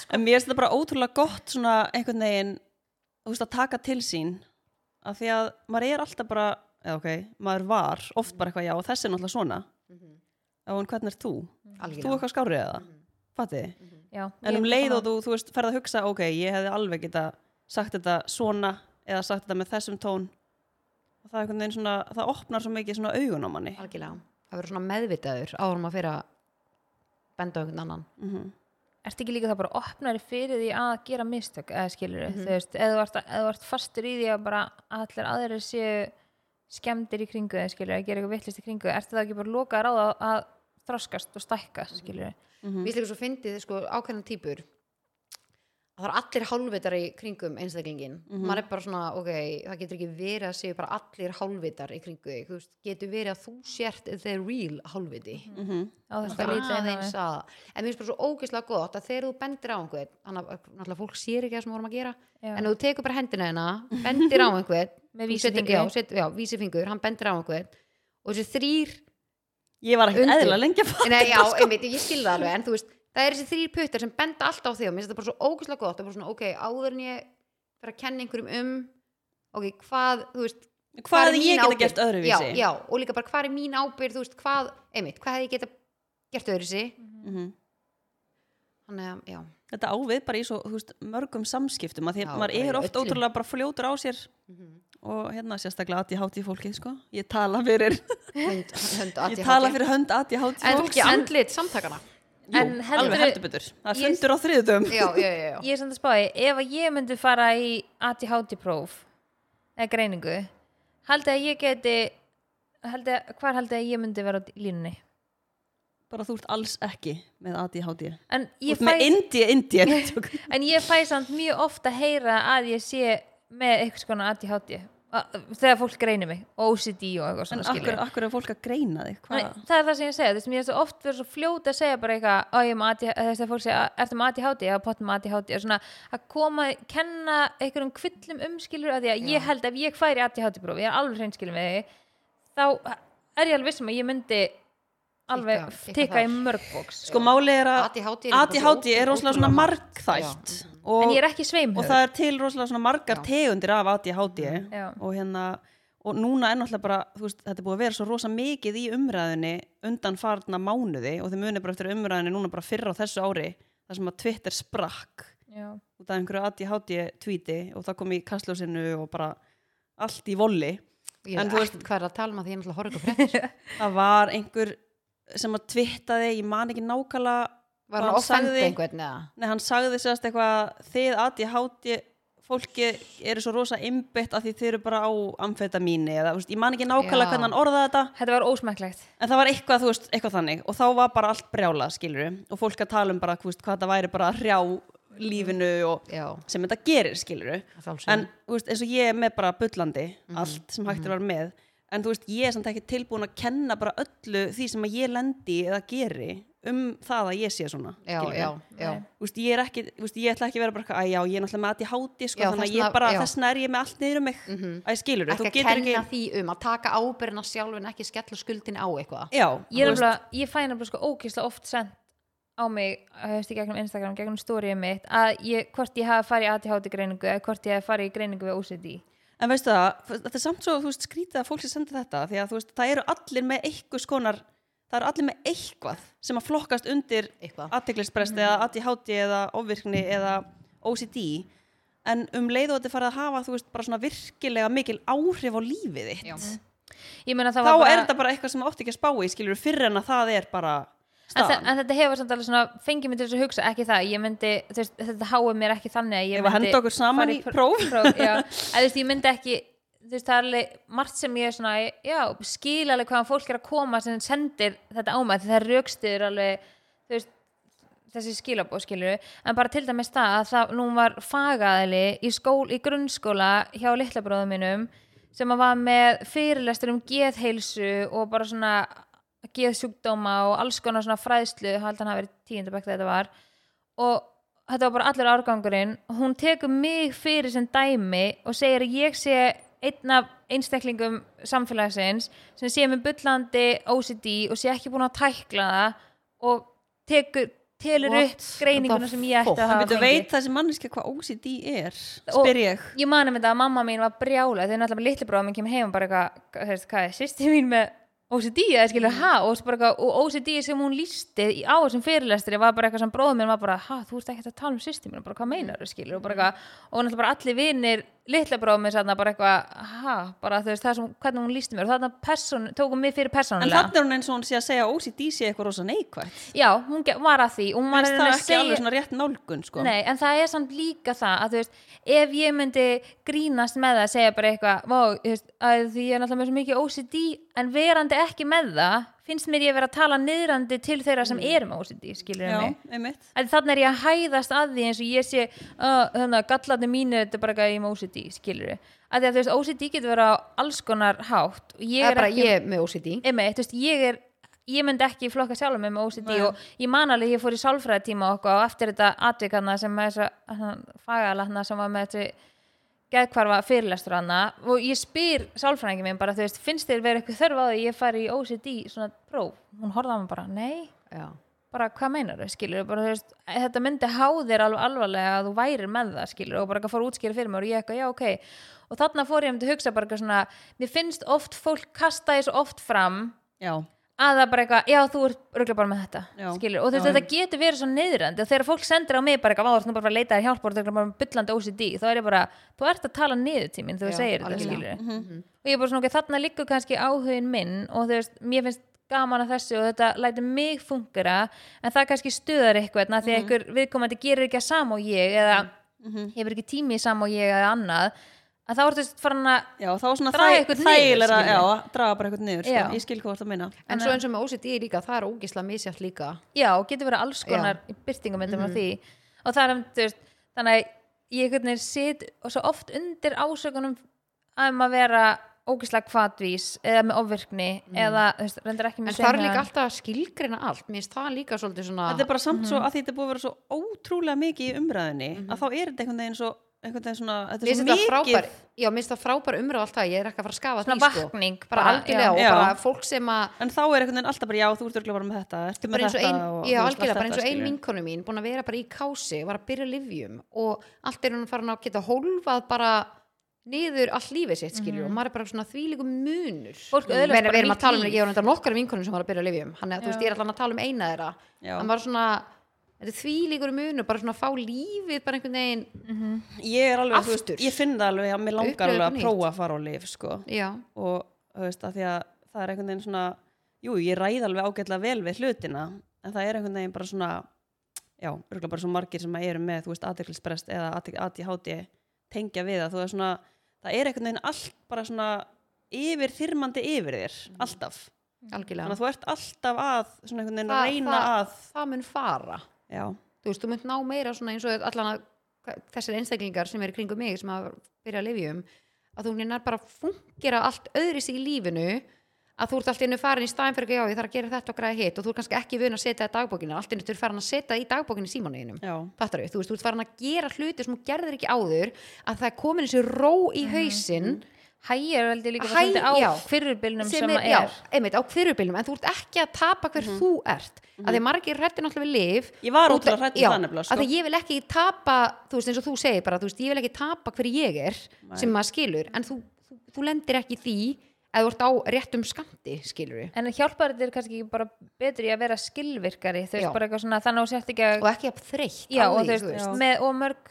en mér finnst þetta bara ótrúlega gott svona einhvern veginn þú veist að taka til sín af því að maður er alltaf bara eða ok, maður var oft bara eitthvað já og þessi er náttúrulega svona mm en hvernig er þú?
Mhm. Algjörlega. Mhm.
Þú eitthvað skárið eða? Mm Fattiði?
Já,
En
ég-
um leið og þú, þú veist, ferð að hugsa ok, ég hefði alveg geta sagt þetta svona eða sagt þetta með þessum tón og það er einhvern veginn svona það opnar svo mikið svona augun á manni
algjörlega að vera svona meðvitaður áður maður fyrir að benda á einhvern annan
Mm. Mhm,
ertu ekki líka það bara opnari fyrir því að gera mistök eða skilur
Mhm.
þú veist, eða þú ert, eða þú ert fastur í því að bara allir aðrir séu skemmdir í kringu eða skilur, að gera eitthvað vittlist í kringu ertu það ekki bara lokaðar á það að þroskast og stækka,
Mhm.
skilur
mm. líka svo fyndið sko ákveðna típur að það er allir hálfvitar í kringum einstaklingin, maður er bara svona ok, það getur ekki verið að séu bara allir hálfvitar í kringu þig, þú veist, getur verið að þú sért the real hálfviti
Mhm.
mm -hmm.
á þess að líta inn á mig.
aðeins að en mér finnst bara svo ógeðslega gott að þegar þú bendir á einhvern þannig að náttúrulega fólk sér ekki það sem við vorum að gera
Já.
en ef þú tekur bara hendina hérna, bendir á einhvern
Með
þú setur-
vísifingri.
já, set, já, vísifingur, hann bendir á einhvern og þessi þrýr
Ég var ekkert
Undir.
eðla lengi að fatta
Nei, já,
þetta, sko.
einmitt, ég skil það alveg, en þú veist það er þessi þrýr puttar sem benda alltaf á þig og mér finnst þetta bara svo ógeðslega gott, það er bara svona, ok, áður en ég fyrir að kenna einhverjum um ok, hvað, þú veist
Hvað
er
hefði ég
mín
getað
ábyrgð?
gert öðruvísi?
já, já, og líka bara hvað er mín ábyrð, þú veist, hvað einmitt, hvað hefði ég geta gert öðruvísi
Mhm.
þannig að, já,
þetta ávið bara í svo þú veist, mörgum samskiptum að því
Já,
að maður
bara í Mhm.
er oft
öllum.
ótrúlega bara fljótur á sér og hérna sérstaklega aðti hátíð fólkið sko. ég tala fyrir
hönd, hönd
ég
ADHD.
tala fyrir hönd aðti hátíð
en
fólks
ekki andlit samtakana
Jú,
En heldur-
alveg heldur betur það er
Ég-
fundur á þriðutum
já, já, já, já.
ég er samt að spáði, ef að ég myndi fara í ADHD próf eða greiningu, haldið að ég geti haldið, að- hvar haldið að ég myndi vera á línunni
bara þú ert alls ekki með aðti hátíð
en ég,
með
fæ,
indi, indi
en ég fæ samt mjög ofta heyra að ég sé með eitthvað skona ADHD a- þegar fólk greinir mig, OCD og eitthvað
en
svona
akkur,
skilur
akkur er fólk að greina þig
Nei,
hvað
það er það sem ég segja, þú veist, mér er svo oft verið svo fljót að segja bara eitthvað, "Ó, ég er með ADHD", þú veist að fólk segja, ertu með ADHD, já, pottum með ADHD, og svona að koma, kenna einhverjum kvillum umskilur að því að ég held ef ég færi ADHD próf, ég er alveg hreinskilur með því, þá er ég alveg vissum að ég myndi alveg
Tikka- tikka
tikka í
þar.
mörg bóks,
sko máli er að
ADHD er
aðti
bara svo
hátíð er
ótrú-
rosalega svona
ótrúlega margt.
markþætt
en
og
ég er ekki
og
sveimhöfð.
það er til rosalega svona margar tegundir af ADHD
Já.
og hérna og núna er náttúrulega bara, þú veist, þetta er búið að vera svo rosa mikið í umræðinni undan farna mánuði og þið munir bara eftir umræðinni núna bara fyrra á þessu ári þar sem að Twitter sprakk
Já,
út af einhverju ADHD tweeti og það kom í kastljósinu og bara allt í volli
Ég
En
veit
þú veist-
ekkert hvað er að tala um að því ég náttúrulega horf ekki á fréttir
það var einhver sem að twittaði, ég man ekki nákvæmlega
Var
Og
hann
hann
offend
sagði-
einhvern eða?
Nei, hann sagði sérst eitthvað þið aði háti fólki eru svo rosa einbytt að því þið eru bara á amfetamíni eða, þú veist, ég man ekki
Já.
nákvæmlega hvernig hann orðaði þetta
Þetta var ósmekklegt.
en það var eitthvað, þú veist, eitthvað þannig og þá var bara allt brjála, skilur og fólk að tala um bara, þú veist, hvað það væri bara að hrjá lífinu og
Já,
sem þetta gerir, skilur
Að sjálfsögðu.
en, þú veist, eins og ég er með bara bullandi
Mhm.
allt sem hægt er að vera með en þú veist, ég er samt ekki tilbúin að kenna bara öllu því sem að ég lendi eða geri um það að ég sé svona
já,
skilurðu.
já, já.
Nei.
Þú veist, ég er ekki, þú veist, ég ætla ekki að vera bara eitthvað, að já, ég er náttúrulega með aðti háti, sko,
Já,
þannig að
þessna-
ég bara,
já. Mhm.
þessna er ég með allt niður um mig, mm -hmm. að ég skilur, þú
Ekki að
getur
kenna
ekki,
því um að taka ábyrna sjálf en ekki skella skuldin á eitthvað.
já,
Ég, er
þú
nefnilega- ég fæ nefnilega sko ókýrslega oft sent á mig, hefst í gegnum Instagram, gegnum storyið mitt, að ég, hvort ég hafi farið í ADHD greiningu eða hvort ég hafi farið í greiningu við OCD.
en veistu það, þetta er samt svo, þú veist, skrítið að fólk sem sendir þetta, því að, þú veist, það eru allir með eitthvað skonar, það eru allir með eitthvað sem að flokkast undir
Eitthvað.
aðteglisprest
Mm.
eða aðti háti eða ofvirkni eða OCD, en um leið og þetta er farið að hafa, þú veist, bara svona virkilega mikil áhrif á lífið þitt,
Já.
Ég meina það
þá
var bara...
er þetta bara eitthvað sem átti ekki að spá í, skilur, fyrir en að það er bara
En, þa
staðan.
en þetta hefur samt alveg svona fengið mér til þess að hugsa ekki það, ég myndi, þú veist, þetta háið mér ekki þannig að ég
Ef að henda okkur saman
fara
í próf.
próf já, að, þú veist, ég myndi ekki þú veist, það er alveg margt sem ég er svona já, skil alveg hvaðan fólk er að koma sem sendir þetta á mig, því það raukstuður alveg, þú veist þessi skilabóð skilur, en bara til dæmis það að það, nú var fagaðli í, skól, í grunnskóla hjá litlabróðum mínum sem að var með fyrirlestur um geðheilsu og bara svona geðsjúkdóma og alls konar svona fræðslu, ég held hann hafi verið tíundabæk þetta var og þetta var bara allur árgangurinn hún tekur mig fyrir sem dæmi og segir að ég sé einn af einstaklingum samfélagsins sem sé með bullandi OCD og sé ekki búin að tækla það og tekur, telur
What
upp greininguna
the
sem ég ætti
fuck?
að hafa
Þú
fengið.
veit þessi manneski hvað OCD er,
Og-
spyr ég.
ég man um þetta að mamma mín var brjála þau náttúrulega litli bróðum minn kemur heim og bara eitthvað hefst, hvað er sýsti mín með OCD eða
Mm.
skilur ha og, svo bara eitthvað- og OCD sem hún lísti í- á þessum fyrirlestri var bara eitthvað sem bróðum minn var bara ha þú ert ekkert að tala um sýsti mín bara hvað
Mm.
meinar þú skilur og bara eitthvað og náttúrulega bara allir vinir litla bróðum minn sann bara eitthvað ha bara þú veist það sem hvernig hún lísti mér og þarna person, tókum mig fyrir
En
persónulega
þannig er hún eins og hún sé að segja að OCD sé eitthvað rosa neikvægt.
já hún ge- var að því og hún var
Það
að
er
reyna að
ekki alveg svona rétt nálgun, sko.
Nei, en það er samt líka það að þú veist, ef ég myndi grínast með það, segja bara eitthvað "Vá, þú veist, að því ég er náttúrulega með svo mikið OCD en verandi ekki með það finnst mér ég vera að tala niðrandi til þeirra sem er með OCD, skilur
Já,
mig
einmitt.
að þannig er ég að hæðast að því eins og ég sé "Ah, þannig að gallarni mínu þetta er bara eitthvað ég er með OCD, skilur við að því að þú veist, OCD getur vera á alls konar hátt og ég er
Það er bara
ekki
ég er með OCD.
einmitt, þú veist, ég er ég myndi ekki flokka sjálfum mig með OCD og ég man alveg ég fór í sálfræðatíma og okkur og eftir þetta atvik hana sem með þess fagala hana sem var með þessi geðkvarfa fyrirlestur hana og ég spyr sálfræðingi minn bara, þú veist, finnst þér verið eitthvað þörf á því að ég fari í OCD svona próf, hún horfði á mig bara, nei
Já.
bara hvað meinar þau, skilur bara, þú veist, þetta myndi há þér alveg alvarlega að þú værir með það, skilur og bara eitthvað fór að útskýra fyrir mér og ég eitthvað, já, ok og þarna fór ég um til að hugsa bara eitthvað svona mér finnst oft fólk kasta þessu oft fram
Já.
að það bara eitthvað, já, þú ert röglega bara með þetta
Já.
skilur, og þú veist, þetta getur verið svo neyðrandi og þegar fólk sendir á mig bara eitthvað, "Vá, þú ert nú bara að fara að leita þér hjálp og þú ert örugglega bara með byllandi OCD, þá er ég bara þú ert að tala niður til mín þegar þú
Já,
segir þetta,
algjörlega.
skilur og ég er bara svona, ok, þarna liggur kannski áhugin minn og þú veist, mér finnst gaman að þessu og þetta lætur mig fungera en það kannski stuðar eitthvað mm -hmm. því að einhver viðkomandi gerir ekki að sama og ég eða hefur ekki tími í sama og ég eða annað, að þá ertu farin að
Já, þá er svona
Draga
þæ-
eitthvað niður,
þægilegra,
skilur.
já, að draga bara eitthvað niður, sko.
Já.
Ég skil hvað þú ert að minna.
En svo eins og með OCD líka, það er ógislega misjátt líka.
já, og getur verið alls konar í byrtingumyndum
Mhm.
mm af því og það er, um, þú veist, þannig að ég einhvern veginn sit og svo oft undir ásökunum um að vera ógislega kvatvís eða með ofvirkni eða, þú veist, reyndar ekki með
Mhm. En það er
seinna-
líka alltaf að skilgreina allt. Mér finnst það líka svolítið svona...
Þetta er bara samt
mhm.
svo, að því þetta er búið að vera svo ótrúlega mikið í umræðinni, að þá er þetta einhvern veginn svo, einhvern veginn svona,
Mér
þetta er
finnst
svo
þetta frábær,
mikið.
já, mér finnst það frábær umröð alltaf, ég er ekki að fara að skafa
Svona
því, sko.
vakning,
bara,
bara,
algjörlega
já.
og bara
Já.
fólk sem að,
En þá er einhvern veginn alltaf bara, já, þú ert örugglega bara með þetta, ertu með
bara eins og ein,
þetta og
já,
þú veist,
algjörlega,
allt
bara eins og
þetta,
ein vinkonu
skilurðu.
mín, búin að vera bara í kási, var að byrja livjum og allt er hún farin að geta hólfað bara niður allt lífið sitt, skilur,
Mhm.
og maður er bara svona þvílíkum munur.
Fólk
Ég
öðlast
meina,
bara
við erum
nýtt
að tala um,
líf.
ég var þetta nokkar vinkonum sem var að byrja livjum, hann er, þú veist, ég er allan að tala um eina þeirra,
Já.
hann var svona, þetta er þvílíkur munur, bara svona að fá lífið, bara einhvern veginn,
Mhm. ég er alveg, þú
Aftur.
veist, ég finn það alveg að mér
Upplifa
langar alveg
eitthvað
að
nýtt.
prófa að fara á lif sko.
já,
og þú veist, að því að það er einhvern veginn svona jú, ég ræð alveg ágætlega vel við hlutina en það er einhvern veginn bara svona já, örgulega bara svo margir sem að eru með, þú veist, aðdeklisbrest eða ADHD tengja við það, þú veist svona, það er einhvern veginn allt bara svona yfir þyrmandi yfir þér, alltaf. Þannig
algjörlega
að þú ert alltaf að, svona einhvern veginn
Það-
að reyna
það-
að,
það mun fara
já,
þú veist, þú munt ná meira svona eins og allan að hva- þessir einstaklingar sem eru kringum mig sem að byrja að lifja um að þú nýrnar bara að fungera allt öðris í lífinu að þú ert allt í einu farin í staðin fyrir ekki já, ég þarf að gera þetta og græða hitt og þú ert kannski ekki vun að setja það í dagbókina allt í einu þú ert farin að setja það í dagbókina í símanuðinum
já,
fattar þú, veist, þú ert farin að gera hluti sem þú gerðir ekki áður að það er komin þessi ró í hausinn
hægir veldi líka bara
Hæ-
svolítið á
já.
fyrirbylnum sem,
sem
sem
er, já,
er Mhm.
einmitt, á hverjubilum en þú ert ekki að tapa hver þú ert mm -hmm. að því margir hrættir náttúrulega við lif
Ég var
út af-
ótrúlega hrædd um
já,
það nefnilega, sko.
að því ég vil ekki tapa, þú veist eins og þú segir bara þú veist, ég vil ekki tapa hver ég er sem maður skilur, en þú, þú, þú lendir ekki í því að þú ert á réttum skamti skilur við,
en hjálpar þetta er kannski ekki bara betri að vera skilvirkari þú veist
Já.
bara eitthvað svona þannig að þú sért ekki að
og ekki að þreytt
já,
á
og,
því,
þú veist,
þú veist.
með, og mörg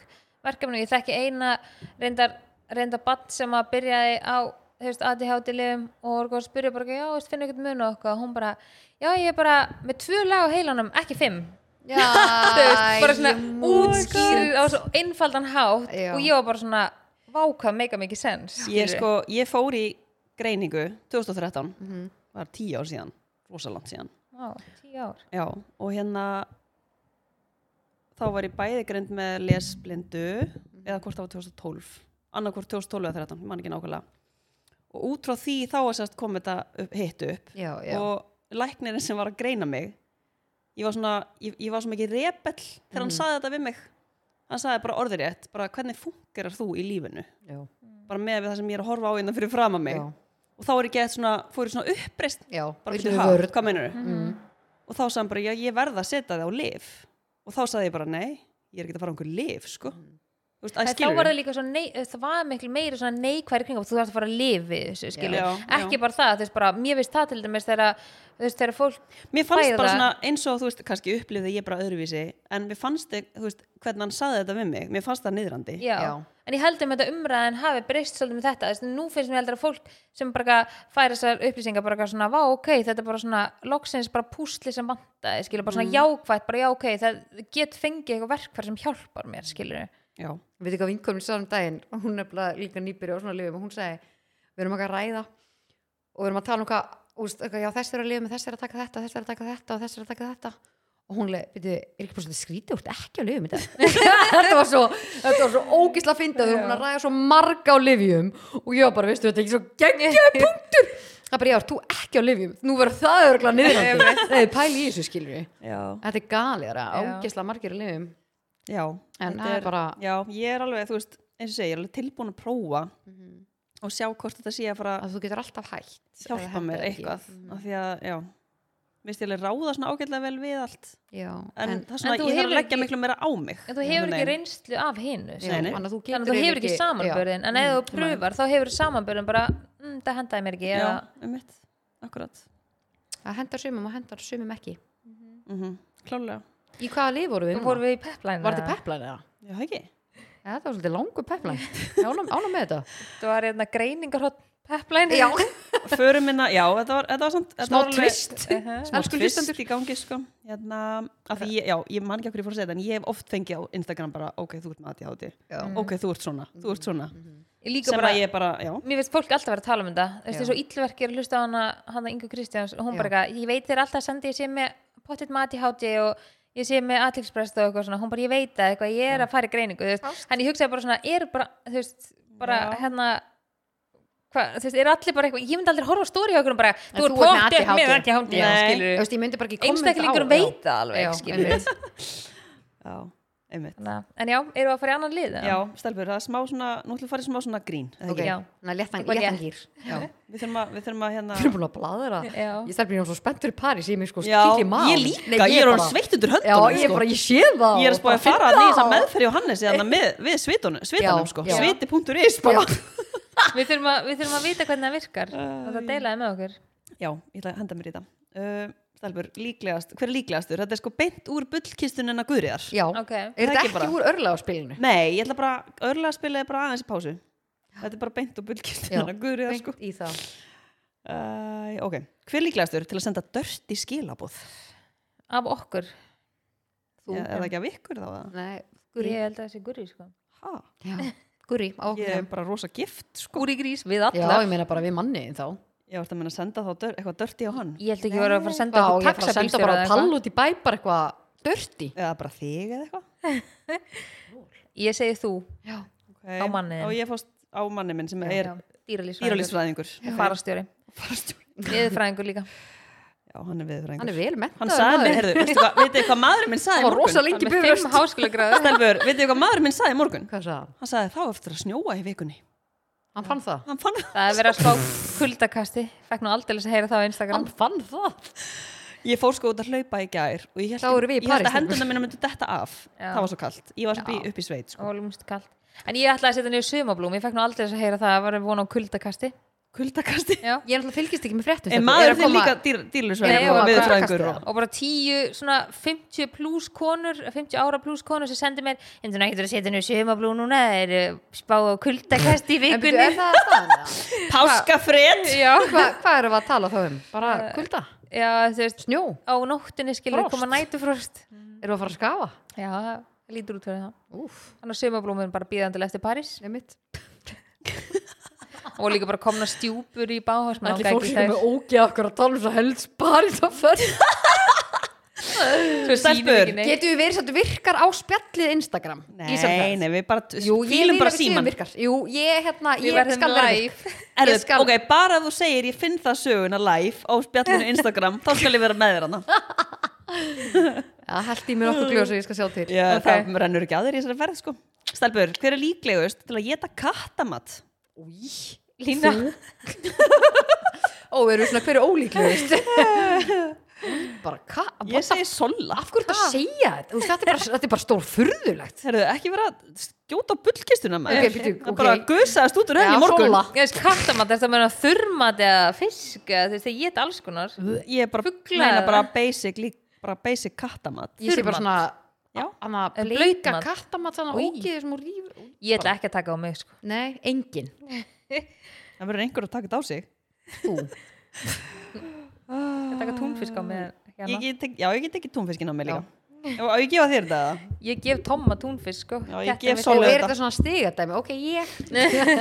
verkefni ég þekki eina reyndar, reyndar badd sem að byrjaði á þú veist, ADHD-lifum og voru góð að spyrja bara, já, þú veist, finna eitthvað mun og eitthvað og hún bara, já, ég er bara með tvö lag á heilanum, ekki fimm
Já,
þú veist, bara
oh
svona
ég mús-
útskýrið á svo einfaldan hátt
Já.
og ég var bara svona, vákað meika mikið sens
ég sko, ég fór í greiningu 2013, var tíu ár síðan, rosalangt síðan.
Vá, tíu ár
Já, og hérna þá var ég bæði greind með lesblindu
Mhm.
eða hvort það var 2012 annað hvort 2012 eða 13, ég man ekki nákvæmlega og út frá því þá að sérst kom þetta upp, hitt upp
já, já,
og læknirinn sem var að greina mig ég var svona, ég, ég var svo mikið rebell
Mhm.
þegar hann saði þetta við mig hann saði bara orðurétt, bara hvernig fungerar þú í lífinu,
já,
bara með við það sem ég er að horfa á innan fyrir fram að mig
Mhm. Já.
og þá er ég gett svona, fór ég svona uppreist
já
bara
Viltu
byrju,
við
ha,
vörn? Mhm.
hvað meinur og þá sagði hann bara, já, ég verð að setja það á lif og þá sagði ég bara, nei, ég er ekki að fara á einhver lif, sko
Mm.
þú veist, að
En þá
skilur
var það líka svo nei, það var miklu meiri svona neikværi kringum þú þarfst að fara að lifi þessu skilur
Já, já.
ekki bara það, þú veist bara, mér veist það til dæmis þegar, þú veist, þegar fólk
mér fannst
fæða
bara
það.
svona, eins og þú veist, kannski upplifði ég bara öðruvísi, en mér fannst þið, þú veist, hvernig hann sagði þetta við mig, mér fannst það niðrandi
já.
Já.
en ég held um þetta umræðan hafi breyst svolítið með þetta, þess að nú finnst mér heldur að fólk sem bara eitthvað fær þessar upplýsingar bara eitthvað svona, vá, ok, þetta er bara svona loksins bara púsli sem vantaði, skilur bara svona jákvætt, bara já, ok, það get fengið eitthvað verkfæri sem hjálpar mér, skilur
já,
við veitum hvað vinkonum sá um daginn og hún nefnilega líka nýbyrja á svona lifum og hún segi, við erum ekki að ræða og við erum að tala um hvað úst, eitthvað, já, þess er að lifa með, þess er að taka þetta þess er að taka þetta og þess er að taka þetta og hún leið, veitum, er ekki bara svona skrítið úr ekki á lifum í dag þetta var svo, þetta var svo ógisla fyndið við erum búin að ræða svo marga á lifjum og ég var bara, veistu, þetta er ekki svo geggja punktur það er bara, já, ert þú ekki á lifjum nú verður það örgla niðrandi Nei, pæli í þessu skilur
já,
þetta er galið, það er
Já.
ógisla margir á lifjum
já
En
þetta
það er bara-
já, ég er alveg, þú veist, eins og segja, ég er alveg tilbúin að prófa
Mhm.
og sjá hvort þetta sé að fara að
að þú getur alltaf hægt
hjálpa mér eitthvað,
Mhm.
af því að, já Vist ég alveg ráða svona ágætlega vel við allt
Já,
en,
en,
það er svona,
en þú
ég þarf að
hefur
leggja
ekki-
miklu meira á mig
En þú hefur
Einhvern
ekki
veginn.
reynslu af hinu
já,
Nei, nei.
þannig að þú getur
þannig að þú hefur ekki
já. Mm.
samanbörðin en ef þú pröfar þá hefur samanbörðin bara mm, það hendaði mér ekki eða,
Já, um mitt, akkurat
það hendar sumum og hendar sumum ekki
mm Klálega
í hvaða lið voru við?
Nú vorum við í pepline
var þetta peplæn eða?
Já, það ekki
Ja, það var svolítið langur peplæn ánum, ánum með þetta
þetta var hérna greiningarhótt pepline
Förum minna, já, þetta var, þetta var samt þetta
Smá
var alveg-
twist.
Mhm.
Smá
Elsku
twist
hlustendur.
í gangi, sko hérna, af því, ég, Já, ég man ekki okkur ég fór að segja þetta en ég hef oft fengið á Instagram bara ok, þú ert með aðti áti Mm. ok, þú ert svona, þú ert svona
Ég líka
sem
bara,
að ég bara, já
mér finnst fólk alltaf vera að tala um þetta Þú veist,
Já.
þessu illverki er að hlusta á hana hana Ingu Kristjáns og hún
Já.
bara eitthvað, ég veit þér alltaf að sendi ég sé með pottitt mati háti og ég sé með aðtilsprest og eitthvað svona, hún bara ég veit að eitthvað, ég er að fara í greiningu, þú veist hann ég hugsaði bara svona, er bara, þú veist bara
Já.
hérna Hva, þú veist, er allir bara eitthvað, ég myndi aldrei horfa á stóri hjá okkur bara, þú ert
þú ert með
pottitt
ADHD.
með ADHD já,
Nei.
skilurðu.
Þú veist, ég myndi bara ekki komment á
einstaklingur veit það alveg
Já,
skilur við.
Já, einmitt
Þannig að- en já, eru að fara í annan lið eða?
Já, stelpur, það er smá svona, nú ætlum við að fara í smá svona grín eða
ok,
ekki?
Já.
þannig að léttan,
Bara
léttan
létt.
gýr við
Við þurfum að, við þurfum að hérna
erum búin að bladra
Já.
ég stelpur ég á svo spenntur í París ég er mér sko
Já,
skýrli maður
ég líka, ég er orðin sveitt undir
já,
höndunum
ég,
sko.
bara, ég sko sé það
Ég er að spáði
Bara
að fara að
finna
nýja
það.
meðferð Jóhannes eða með, við svitunum, svitunum
Já,
sko.
já.
sviti.is bara
við, þurfum að, við þurfum að vita hvernig það virkar og það deilaði með okkur
Já, ég ætla að henda mér í það. Uh, Stelbur, líklegast, hver er líklegastur? Þetta er sko beint úr bullkistunina guðriðar.
já,
Ok.
er
Það
þetta
ekki
ekki
bara.
úr örlega á spilinu
Nei, ég ætla bara, örlega að spila bara aðeins í pásu. Þetta er bara beint úr bullkistunina guðriðar sko.
í það
Uh, ok, hver er líklegastur til að senda dörst í skilabóð?
af okkur
Þú?
er það ekki af ykkur þá eða?
Nei,
Ég
guri
held að það sé gurri sko
Ha,
Já, guri á okkur
ég er bara rosa gift sko.
Gurri grís við
Já,
alla
ég meina bara við manni þá
ég var þetta að meina að senda þá dör, eitthvað dörti á hann
Ég held ekki að vera að fara að
Já,
senda
ég
okkur
er bara að senda bara
taxabílstjóra eða
pall
eitthvað.
út í bæ bara eitthvað dörti
eða bara þig eða eitthvað
Ég segi þú
Já,
okay.
Á manninn.
og ég fórst á manni minn sem er
Já, Dýralýsfræðingur
dýralýsfræðingur
Farastjóri
já,
Viðfræðingur líka
hann
hann
er viðfræðingur
er vel mentaður
hann sagði mér,
maður.
heyrðu, veistu hvað, vitið þið hvað maðurinn minn sagði í
Hann var
morgun?
rosa
Hann
lengi
er með
bifurst
fimm háskólagráður
Stelbur, vitið þið hvað maðurinn minn sagði í morgun?
Hvað sagði hann?
Hann sagði þá á eftir að snjóa í vikunni.
Hann fann það
Hann fann það.
Það er verið að spá kuldakasti Fekk nú aldrei að heyra það á Instagram
Hann fann það
Ég fór sko út að hlaupa í gær og ég held,
Þá eru við í
ég held
París,
að hendurna mína myndu detta af.
Já.
Það var svo kallt. Ég var svo
Já.
upp í sveit sko.
og lúmst kallt en ég ætlaði að setja niður sumablúm, ég fekk nú aldrei að heyra það að var von á kuldakasti
Kuldakasti.
Já.
Ég náttúrulega fylgist ekki með fréttum stelpur.
En
Er
maður
að
þinn
koma-
líka
Ég
dýrlisverðingur
var
og
bara
viðfræðingur.
kastið,
og-
og bara tíu, svona 50 pluss konur 50 ára pluss konur sem sendi mér en þú nægtur að setja niður sumablúm núna það er uh, spá á kuldakasti í
En byrju, er
vikunni
það staðan? eða?
Páskafred.
já,
Hvað hvað erum við að tala þá um? Bara kulda?
já, þú veist
Snjó?
á nóttinni skilur
Frost. Mm.
koma nætufrost
Erum við að fara að skafa?
já, það lítur út fyrir það
Úf,
þannig að sumablúmin bara býðandilega eftir París
nemitt
og líka bara komna stjúpur í báhásmann
Ætli fólk sem er ógeð okkur að tala um svo helst París á förn
Stelbur.
Getum við verið svolítið virkar á spjallið Instagram? í
Nei,
samfélagið?
nei, við bara
Jú, ég
fýlum
vil
bara
að við séum
síman.
virkar Jú, ég hérna,
Við
ég
verðum
skal vera
live.
virk.
Erðu,
Ég skal-
ok, bara ef þú segir ég finn það söguna live á spjallinu Instagram, þá skal ég vera með þér hana.
Já, held í mér okkur gljós og ég skal sjá til
Já,
Ok.
það rennur ekki að þér í þessari ferð sko Stelbur, hver er líklegust til að geta kattamatt?
lína
Ó, erum við svona hverju ólíklegust Bara hvað?
Ég segi solla
Af hverju þetta að segja þetta? Þú veist, Þetta er bara, þetta er bara stór furðulegt
Herðu, ekki vera að skjóta á bullkistuna maður
Ok, bíddu,
Það
ok.
bara gusaðast út úr henni í morgun
solla.
Ég veist kattamat, er það meina þurrmat eða fisk eða þú veist það geta alls konar
Ég er bara,
Fugla
meina
eða?
bara basic, lík, bara basic kattamatt
Ég sé bara svona
Já.
Anna
En
bleika
blautmat?
kattamat þannig
Í.
ógeðið sem hún rífur
Ég ætla ekki að taka á mig sko
Nei, engin
Það verður einhver að taka þetta á sig
Þú
Ég taka túnfisk á
Mm.
mig hérna.
ég
ég,
get, ekki- Já, ég get ekki túnfiskinn á mig líka Já, og ég gefa þér þetta
gef Tomma túnfisk sko
Já, ég
Þetta
gef
er
Og
Solla
er
þetta.
þetta svona stigadæmi? Ok, ég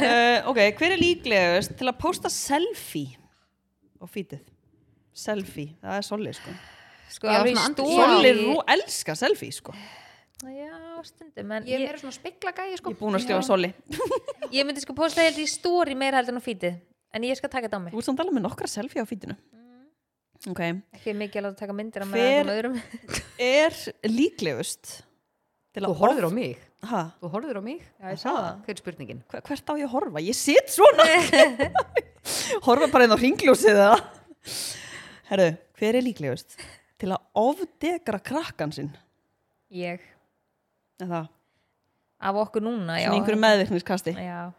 uh, Ok, hver er líklegust til að posta selfie á feedið? Selfie, það er solli sko
mitt- sko,
Já,
alveg í
svona andri-
stofu.
Solli rú- elskar selfie sko
Já, stundum en
Ég er
ég,
meira svona speglagæði sko
Ég er búin að skrifa solli
ég myndi sko posta held í stóri meira heldur en á fítið En ég skal taka þetta á mig
Þú ert samt alveg með nokkra selfie á fítinu
Mm.
Ok
Ekki mikið að láta taka myndir á mig
Hver-
Hver... öðrum
Er líklegust til
Þú horfir á mig
ha,
Þú horfir á mig
Já, ég sá það
Hver er spurningin?
hver- Hvert á ég að horfa? Ég sit svona Horfa bara einn á ringljósið eða Herru, hver er líklegust til að ofdegra krakkan sinn?
Ég
Er Það,
Af okkur núna, já
svona í einhverju meðvirkniskasti
Já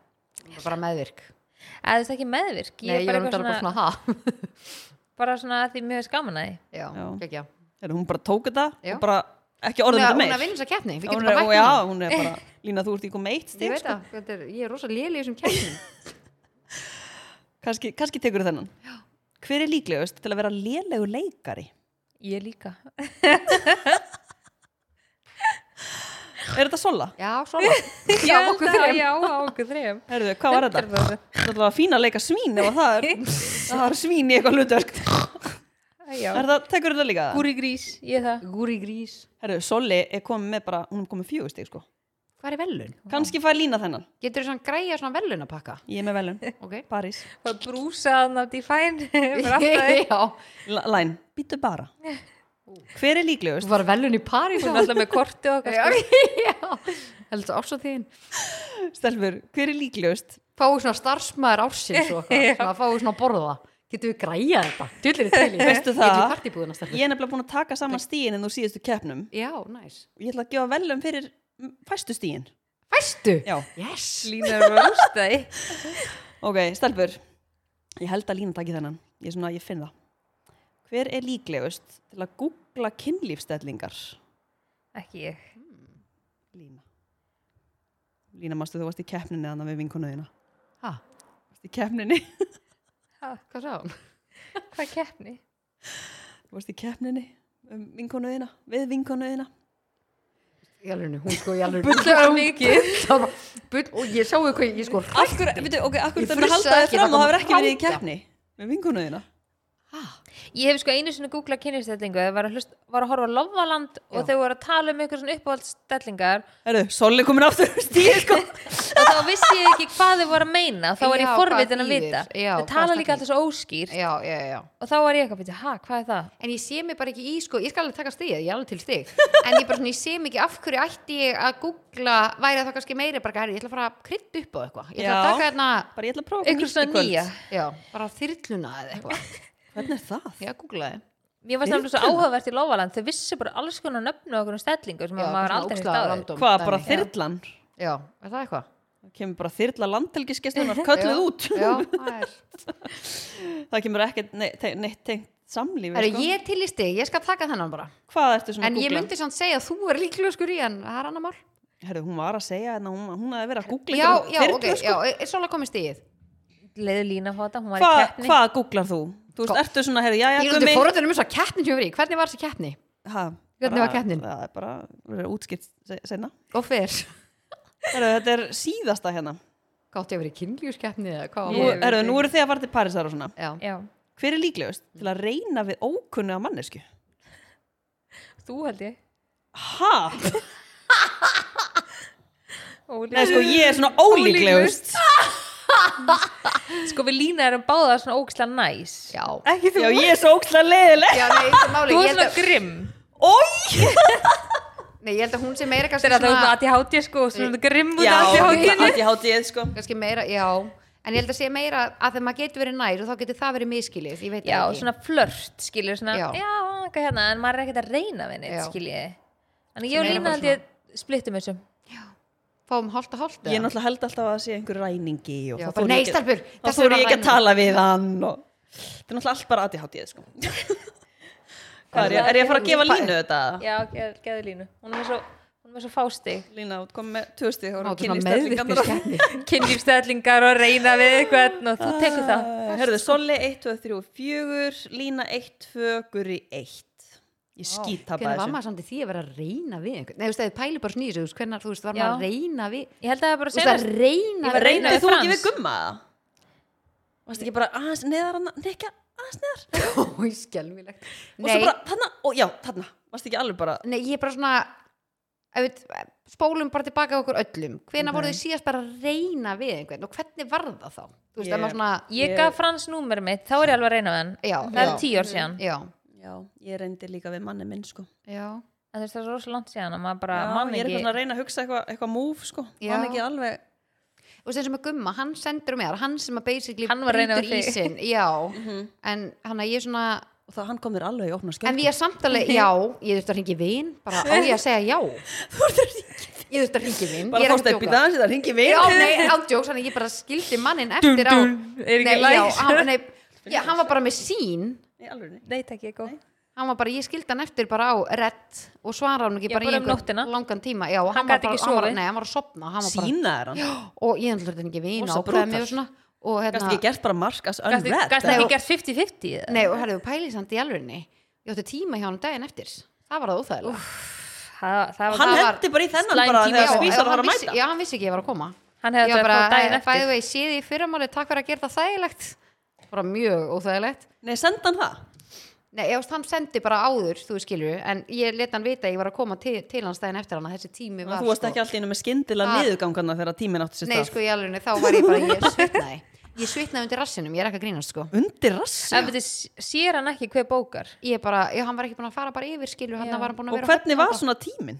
Bara meðvirk
Eða þú veist ekki meðvirk
Nei, ég
er bara
var um
eitthvað svona,
bara svona ha
bara svona að því mjög skaman að því
Já,
Já.
ekki já
Herru, hún bara tók þetta
Já.
og bara ekki
Hún er
orðið þetta
hún er
meir
að vinna þessa keppni Við
Hún
getum
er,
bara
og
hægt
já,
hana.
hún er bara Lína, þú ert í komið eitt
Ég
stig
veit
sko.
það, þetta er- ég er rosa léli í þessum keppnum
kannski, kannski tekur þennan Hver er líklegust til að vera lélegu leikari?
Ég líka
Er þetta sola?
Já, svona Já,
Ég
okkur
held að-
þrejum
Já, á okkur þrejum
Herðu, hvað var þetta? Þetta var fín að leika svín ef það er, það er svín í eitthvað hlutverk. Er
Já,
það, tekur þetta líka?
gúri grís, ég það
Gúri grís
Herðu, Solli er komið með bara, hún er komið fjögustig sko.
Hvað er velun?
Kanski fær lína þennan.
Getur þú svona græja svona velunapakka?
Ég er með velun.
Ok
París.
Bara brúsaðan af Define bara aftan þig.
Já,
L- Læn, býttu bara. Hver er
þú
líklegust?
var velun í París
Hún er alltaf með korti og okkar
Já,
sko.
heldur árs á þín
Stelfur, hver er líklegust?
Fáu svona starfsmæður ársins og eitthvað svona Fáu svona að borða Getur við græja þetta? Dullir þetta til í
Veistu það?
Getur við partibúðuna stærlega?
Ég er nefnilega búin að taka saman stíin en þú síðustu keppnum.
Já, næs
Ég ætla að gefa velun fyrir mm, fæstu stíin.
Fæstu?
Já.
Yes
Lína er rústaði
Ok, stelfur. Ég held að lína taki þennan. Ég, er svona, ég finn það. Hver er líklegust til að googla kynlífstellingar?
Ekki ég
Lína Lína, mástu þú varst í keppninni þannig við vinkonuðina
Ha,
Varst í keppninni
hvað sá hún?
Hvað keppni?
Þú varst í keppninni um vinkonuðina Við vinkonuðina
Jálurinu, hún sko jálurinu
Bullar mikið.
Bull, og ég sá eitthvað, ég sko ræ-
Af hverju, veitu, ok, af
Ég
hverju þetta
frussa
haldaði
ekki,
fram
það
og
kom
hafur ekki verið í
hanga.
keppni með vinkonu þína
Ég hef sko einu sinni googlað kynlýfstellingu það var að, hlust, var að horfa á Lofaland og
Já.
þau voru að tala um einhver svona uppáhaldsstellingar
Herru, Solli komin aftur stíð, sko
og þá vissi ég ekki hvað þau voru að meina þá var
Já,
ég
hvað
forvitin að
þýðir?
vita
Já,
þau
hvað
tala
það
líka alltaf svo óskýr
Já, já, já
og þá var ég eitthvað, "Bíddu, ha, hvað er það?
En ég sé mig bara ekki í, sko, ég skal alveg taka stigið, ég er alveg til stig En ég bara svona, ég sé mig ekki af hverju ætti ég að googla Væri það kannski meiri bara, herri, ég ætla að fara að krydda upp á eitthvað Ég ætla að
Já.
taka hérna,
Bara ég ætla að prófa
Einhver
eitthvað
svona
nýtt í
nýja
kvöld.
já, bara þyrluna eða eitthvað
Hvernig er það?
Ég googlaði
Mér varst alveg svo áhugavert í Lofaland þau vissi bara alls konar nöfnu okkur um stellingu sem
Já,
já, maður
svona
aldrei
ógeðslega
stáður
random
Hvað, bara
dæmi.
þyrlan?
Já, er það eitthvað?
Það kemur bara þyrla landhelgiskestunar kölluð
Já,
út
Já, það er
Það kemur ekkert neitt te- neitt tengt samlífi,
Herri,
sko
ég er til í stig, ég skal taka þennan bara
Hvað ertu svona
En
að
ég
googla?
myndi samt segja að þú er líklegur í en það er annar mál
Herru, hún var að segja hérna, hún, hún hafði verið að googla
Já,
einhverjum
já,
þyrlu,
ok,
sko.
já, er Sola komið stigið
Leðu lína fóta, hún var
Hva,
í keppni
Hvað googlar þú? Þú veist, ertu svona, herru, já, já,
Sko, Ég
sko,
er undir forhundinu um þess að keppnin sem við erum í, hvernig var þessi keppni?
Ha,
Hvernig
bara-
var keppnin?
Það er bara, verður útskipt se- seinna.
Og fyrr
Herru, þetta er síðasta hérna.
Gátti ég að vera í kynlífskeppni eða hvað
Nú,
Ég veit
herru, nú eru þið að fara til Parísar og svona.
Já,
Já,
Hver er líklegust til að reyna við ókunni á mannesku?
þú held ég
Ha?
Óli.
Nei, sko, ég er svona ólíklegust.
Sko við lína erum báða svona ógislega næs
já
Ekki þú? Já, ég er svo ókslega leiðileg.
Já, nei, það
Þú
máli ég
er
held,
svona
að,
grimm
Ói!
nei, ég held að hún sé meira kannski
Þegar það er
svona
út að ADHD sko og svona grimm út
Já,
að ADHD -inu.
ég hátti ég, sko.
Kannski meira, já En ég held að sé meira að þegar maður getur verið nær og þá getur það verið miskilið, ég veit
Já,
það ekki
svona flört skilur svona, já,
Já.
eitthvað hérna en maður er ekkert að reyna við neitt
Já.
skilur ég Þannig ég og
Sem er
lína
bara
held ég splittum þessu
Fáum hálft að hálft
Ég náttúrulega held alltaf að það sé einhver ræningi og
Já,
þá
bara,
þori ég
"Nei,
ekki-
stelpur,
þá
þessi
þóri
var
ég ekki að
ræningi."
tala við hann og þetta er náttúrulega allt bara aðiháttið sko. Hvað er ég, er ég að fara að gefa línu þetta?
Já, geð- geðu línu Hún er með svo, hún er með svo fástig
Lína, þú komið með tvö stig, þá
Ná,
erum
svona
kynlýfstællingarnar
meðvirkir keppni
Kynlífstællingar og reyna við eitthvað og þú tekur það
Herðu, Solli 1, 2, 3, 4 Lína 1, 2, Guri 1 Ég skýt
Hvernig var
þessu
maður samt í því að vera að reyna við einhvern Nei, þú veist, ef þið pæli bara snýr, þú veist, hvernig, þú veist, var maður
Já.
að reyna við
Ég held að það er bara
Þú veist, að
senast Ég
reyna
var að reyna
Reyndi
við
þú ekki
Frans.
við gumma það? Varst ekki bara aðeins neðar hann Nekka aðeins neðar
Ói, skelmilegt
Og svo bara þarna, og já, þarna Varst ekki alveg bara
Nei, ég er bara svona ef við spólum bara tilbaka okkur öllum hvena
Ok.
voru þið síðast bara að reyna við einhvern og hvernig var það þá? Þú veist,
Ég-
yeah. maður svona
Ég gaf Frans númer mitt, þá er ég alveg að reyna við hann
Já,
Það er
já.
tíu ár síðan
Já,
Já, ég reyndi líka við manni minn sko
já,
En þú veist það er svo rosa langt síðan að maður bara
Já,
man
ég er
ekki
eitthvað svona að reyna að hugsa eitthvað eitthva move sko
Já.
Man ekki alveg
og þess að með Gumma, hann sendur mér hann sem að basically
Hann var að reyna við
brýtur
þig. Mhm.
ísinn, já en hann að ég er svona
Og það hann kom þér alveg í opna
en
skemmt
ég er samtalið, já, ég þurfti að ringi vin bara á ég að segja já ég þurfti að ringi vin
Bara
ég er
fórst
ekki að
upp í
djóka.
dans, þetta ringi við
Já, nei, ándjóks, hann ég bara skildi mannin eftir á
dum, er ekki
Nei, já,
læs?
hann, nei, já, hann var bara með sín
Í alveg
Nei, takk ég er góð
hann var bara, ég skildi hann eftir bara á redd og svaraði hann ekki
Já,
bara,
bara
í
um
einhvern
nóttina.
langan tíma já, og
Hann
var
gat
bara,
ekki
hann var,
sofið.
nei, hann var að sopna hann var bara, Hérna-
Sína er hann
og ég ætla þetta ekki vina
Rosa
og hvað
brútal.
mjög svona og
Gast
hérna,
ekki gert bara markas
Gast
unread
ekki gert 50-50 eða?
nei, og herðu pælið samt í alvegni, ég átti tíma hjá hann daginn eftir það var það óþægilega
Það það var
Hann
það var-
hendi bara í þennan
slæm
bara
tími,
þegar
já,
spísar var
hann
að
vissi,
mæta
já, hann vissi ekki ég var að koma
Hann
ég
hefði þetta
var
að fá daginn
bara,
eftir
bæðu vegi, séði í fyrramáli takk fyrir að gera það þægilegt bara mjög óþægilegt
Nei, senda hann það
Nei, ég veist, hann sendi bara áður, þú skilur en ég let hann vita að ég var að koma til, til hans daginn eftir hann að þessi tími var
Þú varst
sko-
ekki alltaf innu með skyndilega
Ah.
niðurgangana þegar tíminn átti sér
Nei,
stað
sko, í alveg, þá var ég bara, ég svitnaði. Ég svitnaði undir rassinum, ég er ekki að grínast, sko.
Undir rass
En veitir, sér hann ekki hver bókar?
Ég bara, já, hann var ekki búin að fara bara yfir, skilur, hann
Já.
var hann búin að
Og
vera...
hvernig var
horfinn á
svona tíminn?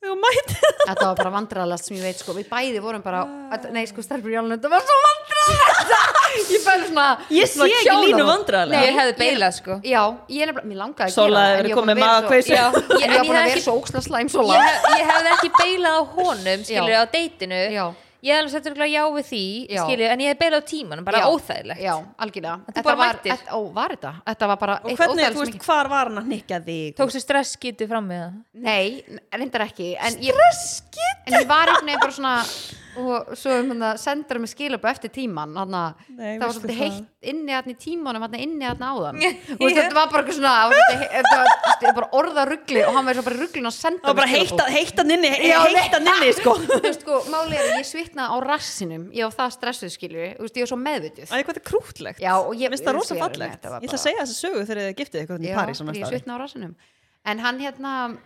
Þegar mæti
það. Þetta var bara vandrarlegt sem ég veit, sko. Við bæði vorum bara,
Ah.
að, nei, sko, stelpur í alveg, þetta var svo vandrarlegt! Ég fæði svona...
Ég sé
svona
ekki
kjála
línu
það.
vandræðilega
Ég hefði beilað sko
Já, ég er nefnilega, mér langaði að
Sola
gera en
hefði
ég var
verið komið
búin að vera
magakveisu.
svo-
Já,
Já,
en
en ég var búin
hefði
að
ekki-
vera svo óksla slæm,
Ég,
Sola.
hef- ég hefði ekki beilað á honum skilur
Já.
á deytinu
Já.
ég hefði alveg sett örugglega já við því
Já.
skilur, en ég hefði beilað á tímanum, bara
Já.
óþægilegt
Já, algjörlega.
þú
Þetta
bara
var,
mættir.
þetta- ó, var þetta? Þetta var bara
Og
eitt
hvernig,
óþægilegt
þú
sem
veist, hvar var hann að nikka þig?
tókstu stress getið fram með það
Nei, reyndar ekki Stresskit En ég var einhvern veginn bara svona og svo mynda, sendur hann mig skilabæð eftir tíman hann
Nei,
það var
veistu
svolítið
það?
heitt inni hann í tímanum hann inni hann áðan og veist, þetta var bara eitthvað svona það var svolítið heitt- þetta var- þetta var bara orða ruggli og hann var svo bara rugglin að senda
það var bara heittan heita inni heittan inni sko
sko, máli er að ég svitnaði á rassinum ég á það stressuð skilur ég veist, ég var svo meðvituð
Æ, hvað þetta er krútlegt
Já, og ég-
Mér finnst það
ég
rosa
sé alveg,
fallegt
þetta var
Ég ætla
bara-
að segja þessa sögu þegar þið giftið eitthvað í París á
ég
næsta ári
svitna á rassinum en hann hérna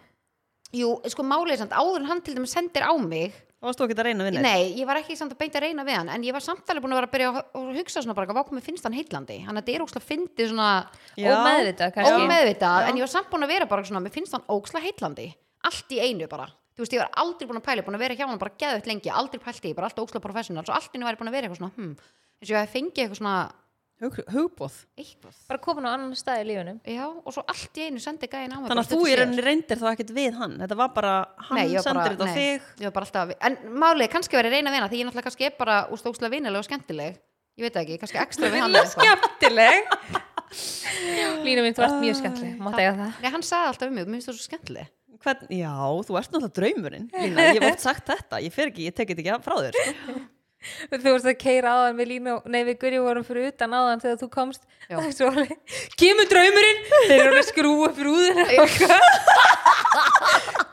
jú, sko málið er samt áður en hann til dæmis sendir á mig
Það varst þú ekki að reyna að vinna þér?
Nei, ég var ekki samt að beint að reyna við hann en ég var samtalið búin að vera að byrja að að hugsa svona bara, hvað komið finnst hann heillandi hann að þetta er ókslega fyndið svona
Já.
Ómeðvitað kannski
ómeðvitað, en ég var samt búin að vera bara svona, mér finnst hann ókslega heillandi allt í einu bara, þú veist, ég var aldrei búin að pæla ég var búin að vera hjá hann bara geðvett lengi, aldrei pælti ég bara alltaf ókslega professional, svo allt í einu var ég búin að vera eitthvað svona hmm, eins og ég hef fengið eitthvað svona
Hug, Hugbóð
eitthvað,
Bara komin á annan stað í lífinu
já, og svo allt í einu sendi gæðin á mig bara
Þannig að þú
stuttu
í
síðar.
rauninni reyndir þá ekkert við hann Þetta var bara, hann
Nei, ég var bara-
sendir þetta á
nei,
þig
ég var bara alltaf, en málið, kannski verið reyna vina því ég náttúrulega kannski er bara úst óslega vinileg og skemmtileg ég veit það ekki, kannski ekstra sko. við hann eða eitthvað.
Skemmtileg Lína mín, þú ert mjög skemmtileg Mátt eiga það
Nei, hann sagði alltaf um mig, mér finnst það svo skemmtileg
Hvern, Já, þú ert náttúrulega draumurinn Lína, ég hef oft sagt þetta, ég fer ekki, ég tekið ekki frá þér sko.
Þú vorst að keira áðan við Línu Nei, við Guri vorum fyrir utan áðan þegar þú komst
Já.
Það er svo alveg Kemur draumurinn Þeir eru að skrúa upp rúðina og eitthvað.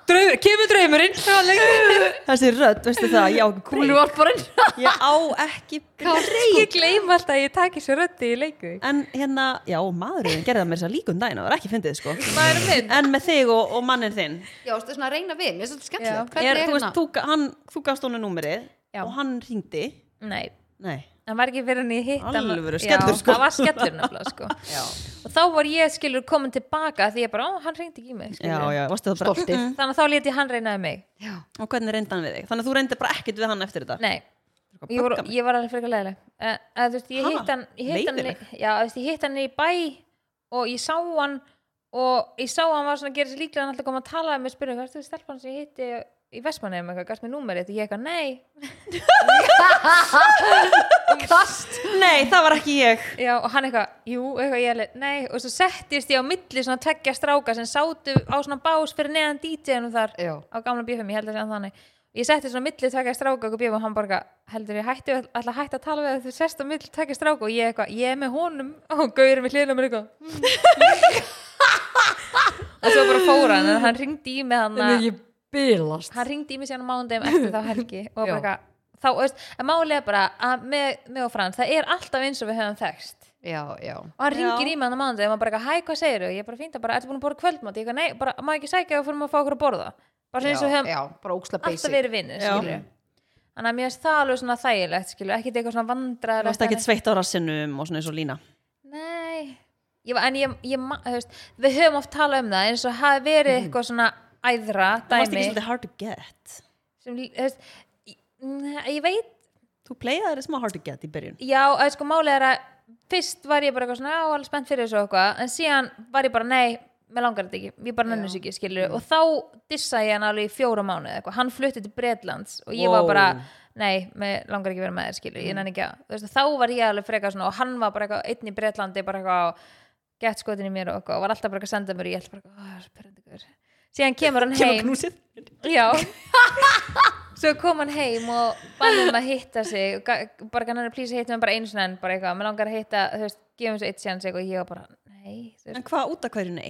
Draumur, Kemur draumurinn Það var lengur.
Þessi rödd, veistu það, ég á ekki breyk
Kúluvarparinn
Ég á ekki breyk
Ég gleym alltaf að ég taki svo röddi í leiku
En hérna, já, maðurinn gerði það mér þess að líkum dæna, það var ekki fyndið sko
Maður minn
En með þig og, og mannin þinn
Já, þú veist, svona að reyna við, mér finnst það svo skemmtileg Hvernig
er,
er
þú, veist,
hérna?
þú, ga- hann, þú gafst honum númerið
Já.
og hann hringdi
Nei,
Nei,
það var ekki fyrir henni hitt hann-
Alvöru
Já,
skellur, sko.
Það var skellur nefnilega sko.
já,
Og þá var ég skilur komin tilbaka Því ég bara, ó, hann reyndi ekki í mig
já,
skilurðu.
já, varstu það bara
Stoltið
Þannig að þá lét ég hann reynaði mig
Já,
Og hvernig reyndi hann við þig? Þannig að þú reyndir bara ekkert við hann eftir þetta
Nei,
Eitthvað
ég, voru,
bugga mig.
ég var alveg frekar leðileg uh, Þú veist, ég
Ha?
hitt hann, ég hitt hann
Leiðinleg?
Já, þú veist, ég hitt hann í bæ Og ég sá hann Og ég sá hann var svona að gera sér líklega Hann alltaf kom að tala um mig, spyrja Hvað er þú stelpan sem ég hitti í Vestmanni um eitthvað, gafst mér númerið og ég eitthvað, nei
kast
Nei, það var ekki ég
já, og hann eitthvað, jú, eitthvað ég alveg, nei og svo settist ég á milli svona tveggja stráka sem sátu á svona bás fyrir neðan DJ-num þar
Já,
á gamla bífum, ég held að segja þannig ég setti svona milli tvekja stráka og bífum og hann bara heldur ég hættu alltaf hætti að tala við þau, þú sest á milli tvekja stráka og ég eitthvað, ég er með honum og gauður með hliðinu mér eitthvað hmm. og svo bara fór hann en hann ringdi í mig hann
ég bilast
hann ringdi í mig síðan á mánudegum eftir þá helgi og bara
Já.
eitthvað þá, veist, en málið er bara að með, með og frans, það er alltaf eins og við höfum þekst
Já, já
og hann
Já.
ringir í mig hann á mánudegi og hann bara eitthvað, hæ, hvað segirðu? Ég bara fínta bara, ertu búin að borða kvöldmátt? Ég eitthvað, nei, bara, má ég ekki sækja og fyrir maður að fá okkur að borða? Bara eins og við
Já,
hérna-
höfum
já, bara óksla
alltaf
basic
verið vinnir
Já.
þannig að mér finnst það alveg svona þægilegt skilur, ekkert eitthvað svona
Það
vandrar
varst ekki sveitt á rassinum og svona eins og lína
nei, ég, var- en ég, ég ma- þú veist, við höfum oft talað um það eins og hafi verið eitthvað svona æðra
Mhm. Það varst
dæmi
ekki svolítið hard to get
sem, þú veist, ég, nei, ég veit
Þú pleiði það smá hard to get í byrjun
já, eða sko málið er að fyrst var ég bara eitthvað svona, já, alveg spennt fyrir þessu og eitthvað, en síðan var ég bara, nei mér langar þetta ekki, ég bara nennu þessu ekki, skilur og þá dissa ég hann alveg í fjóra mánuð eða eitthvað, hann flutti til Bretlands og ég
Wow. Mm.
var bara, nei, mér langar ekki að vera með þér skilur, ég nenni ekki að, þú veist, þá var ég alveg frekar svona og hann var bara eitthvað, einn í Bretlandi bara eitthvað, gett skotin í mér og eitthvað og var alltaf bara eitthvað að senda mér og ég held bara, eitthvað, "Ó, það er svo pirrandi gaur." síðan kemur hann
Kemur
heim
knúsið
Já Svo kom hann heim og bannum að hitta sig og ga- bara kannan að plýsa hitta mig bara einu sinni en bara eitthvað, mér langar að hitta þú veist, gefum svo eitt sjans eitthvað og ég var bara, nei þú veist.
En hvað út af hverju nei?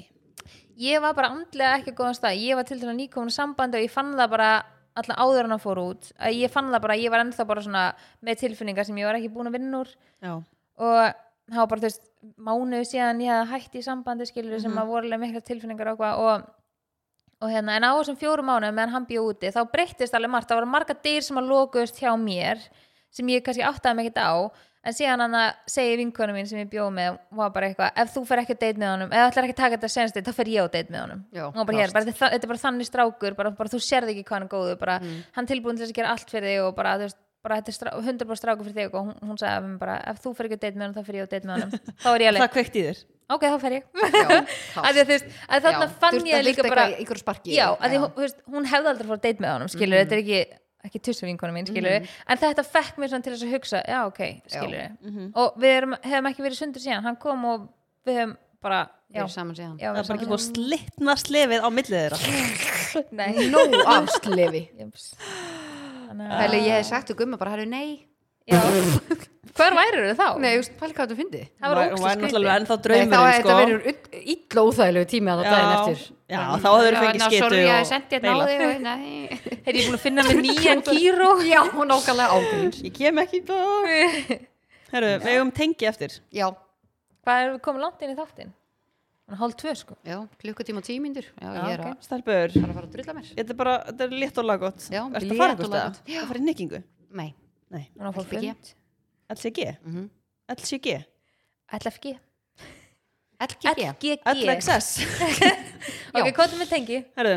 ég var bara andlega ekki á góðan stað ég var til dæla nýkomin úr sambandi og ég fann það bara allan áður en hann fór út að ég fann það bara, ég var ennþá bara svona með tilfinningar sem ég var ekki búin að vinna úr
Já,
og það var bara þú veist mánuðu síðan ég hafði hætt í sambandi skilur sem að voru alveg mikla tilfinningar og, eitthvað og, og hérna, en á þessum fjórum mánuðum meðan hann bjóð úti, þá breyttist alveg margt það voru marga dyr sem að lokuðust hjá mér sem ég kannski áttaði mig ekkert á en síðan hann að segja vinkonu mín sem ég bjóð með var bara eitthvað, ef þú fer ekki að date með honum ef þú ætlar ekki að taka þetta senst þá fer ég á date með honum
Já,
og hún bara, hér, bara, þetta, þetta er bara þannig strákur bara, bara þú sérð ekki hvað hann er góður bara, hann tilbúin til þess að gera allt fyrir þig og bara, þú veist, bara þetta er strá, 100% strákur fyrir þig og hún, hún sagði að bara, ef þú fer ekki að date með hann þá fer ég að date með hann þá er ég alveg,
það kveikt í þér
ok þá fer ég
Já,
að því að þú veist, að þannig fann ég líka bara
Ykkur sparki
já, að því hún- þú veist, hún hefði aldrei fór að date með honum skilur, þetta er ekki, ekki tussuvinkonu mín skilur, en þetta fekk mér svona til þess að hugsa já ok, skilur og við erum, hefum ekki verið sundur síðan, hann kom og við hefum bara, já,
Verið saman síðan
já
Það er bara ekki búið að
saman
slitna slefið á millið þeirra
síðan. Nei.
Nó afslefi
Júps. Þannig að-
Pæli, ég hef sagt þú gumma bara, herru, nei
Já. Hver værir þau þá?
Nei, þú veist, pæli hvað þú fyndi
Það var ógst
var náttúrulega ennþá
Nei, þá hefði
draumurinn
þetta
sko.
verið ull- illa óþægilegu tími að það daginn eftir
já, þá hefur
Já,
verið fengið
ná,
skitu
sorry, ég
og
hef sendið
beilað.
náði og nei
Hefði ég búin að finna með nýjan kýró?
Já, nákvæmlega ágríns
Ég kem ekki í dag Herru, við hefum tengi eftir
Já,
Hvað er við komum langt inn í þáttinn? Hún er hálf tvö sko.
já, klukkutíma og tímindur Já,
Já,
ég er
ok.
að
Stelbur,
bara að fara að drulla mér
þetta er bara, þetta er létt og laggott
Já,
Ertu að
létt og
fara eitthvað
laggott.
stað? Það fara í neykingu?
Nei,
Nei,
Hún er að fá
LBG.
fund.
LCG
mhm.
LCG,
LFG.
LGG
LGG.
LXS
Ok, hvað er með tengi?
Herru,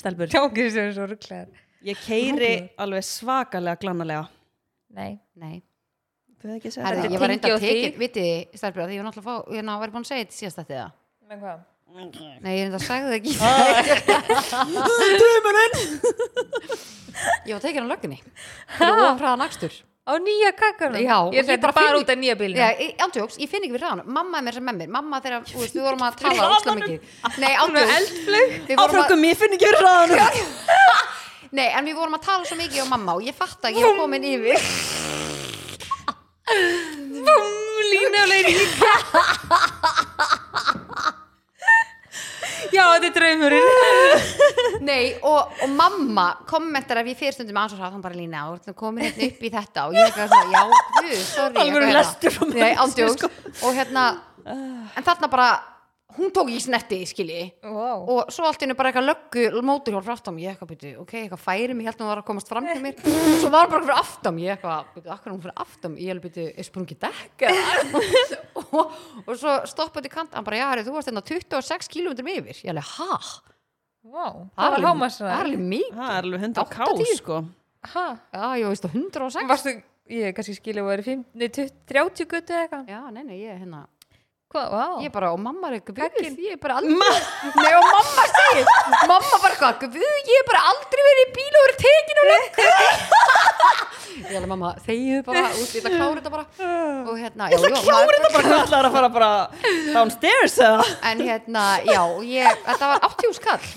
stelbur
Tjókir sem er svo rugglegar.
Ég keiri alveg svakalega glannalega
Nei.
Nei,
Þú hefði ekki segja
Herðu,
Þetta
ég var reynda
tengi
að
og
tekið,
þig.
vitið, þið, starfbjörð, ég var náttúrulega að fá, ég var búin að segja þetta síðast þetta eða?
Með hvað?
Nei, ég reynda að segja þetta ekki.
Ah,
Ég var tekið á lögginni. Það var hraðan akstur.
Á nýja kakkanum?
Já, og
Ég er
ég bara
þetta bara
finn-
út af nýja bílinu.
Já, ég- ándjóks, ég finn ekki fyrir hraðan. Mamma er mér sem með mér. Mamma þegar, þú veist, við vorum að tala ósla mikið. Nei, ándjóks. Við vorum að,
Áfrangum, ég finn ekki verið ráðan
nei, en við vorum að tala svo mikið á mamma og ég fatt að ég var komin yfir.
Línulegin í Já, þetta er draumurinn.
Nei, og, og mamma kommentar ef ég fyrir stundum aðeins og hraðan bara lína og þú ert komin hérna upp í þetta og ég er svona, já, guð, sorry.
Alvöru
eitthvað
lestur frá
hérna.
mömmu
Nei,
sinni, sko.
ándjóks. Og hérna, en þarna bara, hún tók í snerti, skilji.
Wow.
og svo allt innu bara eitthvað löggu móturhjól frá aftam, ég eitthvað byrju, ok, eitthvað færi mig held að hún var að komast fram til mér svo var hún bara fyrir aftam, ég eitthvað, byrju, akkur er hún fyrir aftam ég heldur byrju, er sprungið dekka og, og svo stoppaði kant, hann bara, já, herri, þú varst hérna 26 km yfir, ég alveg, ha
wow. Það var
alveg- það er
hámasræð.
alveg mikið,
Það er alveg 100 k
80.
sko
Hæ?
já, ég veist á 106
Varstu, ég kannski skilja að vera 30 guttu eða eitthvað.
já, nei, nei, ég, hérna,
Hvað, wow.
ég bara, og mamma er eitthvað
Kakkin.
ég er bara aldrei nei, og mamma segir, mamma bara eitthvað guð, ég er bara aldrei verið í bíl og verið tekin og löggu ég alveg mamma, þegiðu bara út, ég ætla að klára þetta bara og hérna, já, já, maður-
Þetta bara hvað ætlaður að fara bara downstairs eða?
en hérna, já, ég, þetta var 80 skall,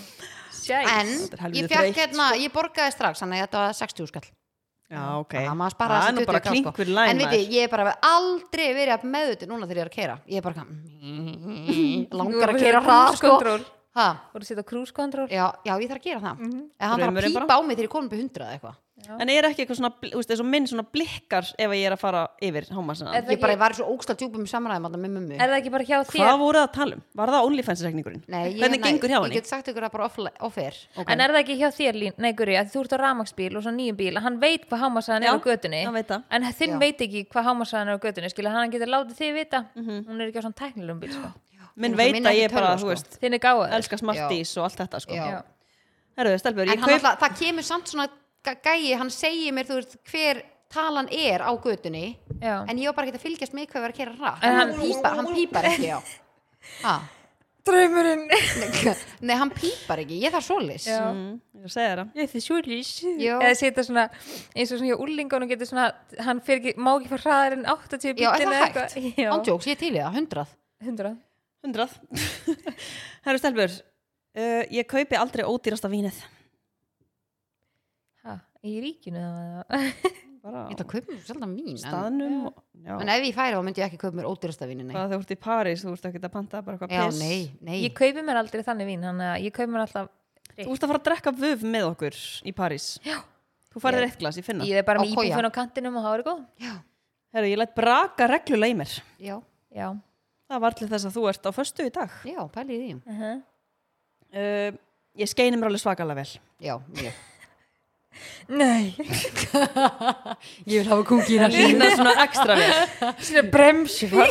Sjæk.
en
Þetta er helvíti
ég fekk
þreytt, sko.
hérna, ég borgaði strax þannig að þetta var 60 skall
Já, ok
Já, maður sparaði
Það er
þessi
nú
20
bara
kall, sko.
klinkur læn
En viti, ég er bara aldrei verið að meðutu núna þegar ég er að keira Ég er bara eitthvað langar að keira hrað sko. Ha,
Þú voru að setja cruise control.
já, já, ég þarf að gera það En hann þarf að
Mhm. Draumurinn
pípa á mig þegar ég komin upp í 100 eða eitthvað
En er ekki eitthvað svona, bl- þú veist, eins og minn svona blikkar ef ég er að fara yfir hámasina
Er það
Ég bara
ekki-
var í svo ógstað djúpum samræðum þarna með mummu
Er það ekki bara hjá þér?
Hvað voru það að tala um? Var það OnlyFans-rekningurinn?
Nei, ég,
Hvernig
nei,
gengur hjá
Ég
henni?
get sagt ykkur að bara off- off-air okay.
En er það ekki hjá þér, Lín, nei Guri, að þú ert á ramaksbíl og svo nýjum bíl, hann veit hvað hámasaðan er
Já,
á götunni,
hann veit það.
en þinn
Já.
veit ekki hvað hámasaðan er á götunni, skilja, hann getur látið þig vita,
Mhm.
hún er ekki á svona tæknilegum bíl, sko.
Minn
Eins og
veit
minn er
að ég
ekki
bara,
tölva,
þú
sko.
veist,
Þinn er gáður.
elska smarties og allt þetta, sko
Já.
Já.
Herru, stelpur,
En
ég
hann
kaup
alltaf, það kemur samt svona gæ- gæi Hann segir mér, þú veist, hver talan er á götunni
Já.
En ég var bara ekki að fylgjast með hvað ég var að keira rætt
En
En
hann-
hann pípar, hann pípar ekki, já ha.
Draumurinn.
Nei, hann pípar ekki, ég þarf svolis
Já.
Mm, Ég er að segja þér það
Ég þið sjúlís.
Já.
Eða setja svona, eins og svona hjá úrlingunum getur svona, hann fer ekki, má ekki fara hraðar en 80
Já, er
bílinn
það
eða
hægt?
eitthvað. Já,
Ándjóks, ég er til í það, 100
100.
100 Herru, stelpur, uh, ég kaupi aldrei ódýrasta vínið
Ha, í ríkinu það.
Bara
Ég ætla að kaupa mér sjaldan mín en,
staðnum og- Já,
en ef ég færi þá myndi ég ekki kaupa mér ódýrasta vinni nei.
hvað þú ert í París, þú ert ekki að panta bara
Já,
eitthvað piss
nei, nei
Ég kaupi mér aldrei þannig vín, þannig að ég kaupi mér alltaf,
Þú ert að fara að drekka vöf með okkur í París Já Þú farið eitt glas, ég finna
ég er bara
Á
með
koja.
íbúfinn á kantinum og það er góð.
Já,
Herru, ég læt braka reglulega í mér
já,
Já.
Það var allir þess að þú ert á föstu í dag
já, pælið í því
Uh -huh.
uh, Ég skeini mér alveg svakalega vel
Já, mjög
Nei.
Ég vil hafa kúkina
Lína svona ekstra vel
Svona bremsi far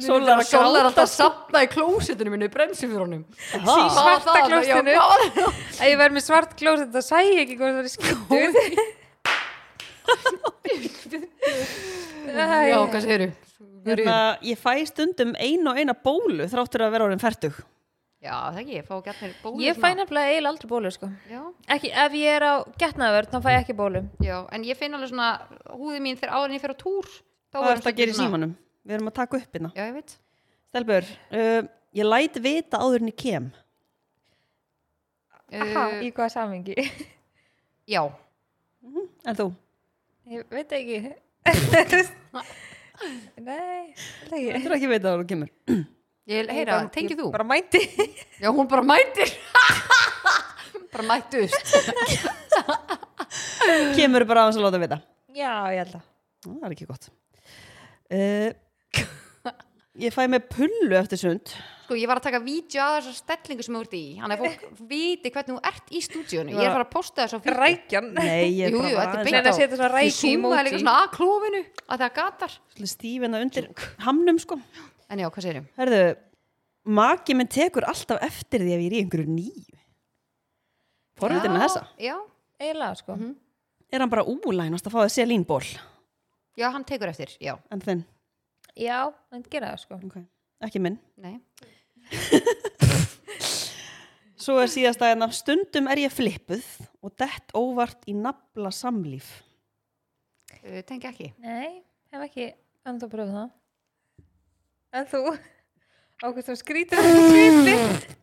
Sólar að
Sjólar
gráta
alltaf að sapna í klósitinu minu bremsi fyrir honum
Ha?
Í svarta
Já, það-
klósettinu.
já, hvað-
Að ég verð með svart glóð þetta sæ ég ekki hvort það er skjótt
Já, hvað segirðu?
Hérna, Ég fæ stundum einu og eina bólu þráttur að vera orðin fertug
Já, það ekki, ég fá gert mér bólu
Ég
svona.
fæ nefnilega eiginlega aldrei bólu sko.
Já,
ekki, ef ég er á getnaðvörð þá fæ ég ekki bólu
já, en ég finn alveg svona húði mín þegar áður en ég fer á túr þá
Hvað
er
er þetta
hún
að gera í
svolítið svona-
símanum? Við erum að taka upp hérna.
Já, ég veit
Stelbur, uh, ég læt vita áður en ég kem.
Aha,
uh,
í hvaða samingi?
Já,
En þú?
ég veit ekki Nei, veit ekki
Þú er ekki að vita áður en þú kemur.
ég
Ég
heyra,
bara-
tengir
ég
þú?
Bara mæti
Já, hún bara mætir Bara mættust
Kemur bara aðeins að láta vita.
Já, ég held að
Nú, Það er ekki gott. Uh, ég fæ með pullu eftir sund.
Sko, ég var að taka vídeo að þessar stellingu sem þú ert í Þannig að fólk viti hvernig þú ert í stúdíunum Ég er að fara að posta þess á fyrir
Rækjan
Nei, ég er
Jú,
bara
jú, þetta er
aðeins-
beint Reyna að setja svona ræki í
Ég
emoji.
líka svona að klófinu að það gatar
Svolítið stífina hérna undir hamnum sko
En já, hvað segirðu?
Herðu, maki minn tekur alltaf eftir því ef ég er í einhverju nýju Forvitin með
Já,
þessa
Já,
Eiginlega sko
Mhm.
Er hann bara úlænast að fá þessi að línból
já, hann tekur eftir, já
En þinn,
Já, hann gera það sko
ok, ekki minn
Nei,
Svo er síðast að hérna Stundum er ég flippuð og dett óvart í nafla samlíf
uh, tengi ekki
Nei, hef ekki ennþá pröfð það En þú Ákveð sem skrítir ekki skrítir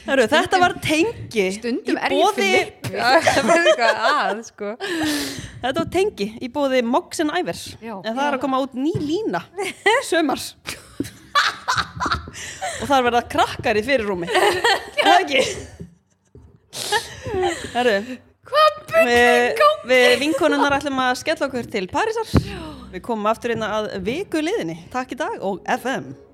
Herru, þetta var tengi
Stundum
í
er ég
boði-
flippuð.
Já, það verður eitthvað að sko
Þetta var tengi í bóði Moxen Ævers
Já.
En það er að koma út ný lína Sömars Og það er verið að krakkar í fyrirrúmi Það ekki Herru Hvað Við vi vinkonunnar ætlum hérna að skella okkur til Parísar Við komum aftur inn að viku liðinni Takk í dag og FM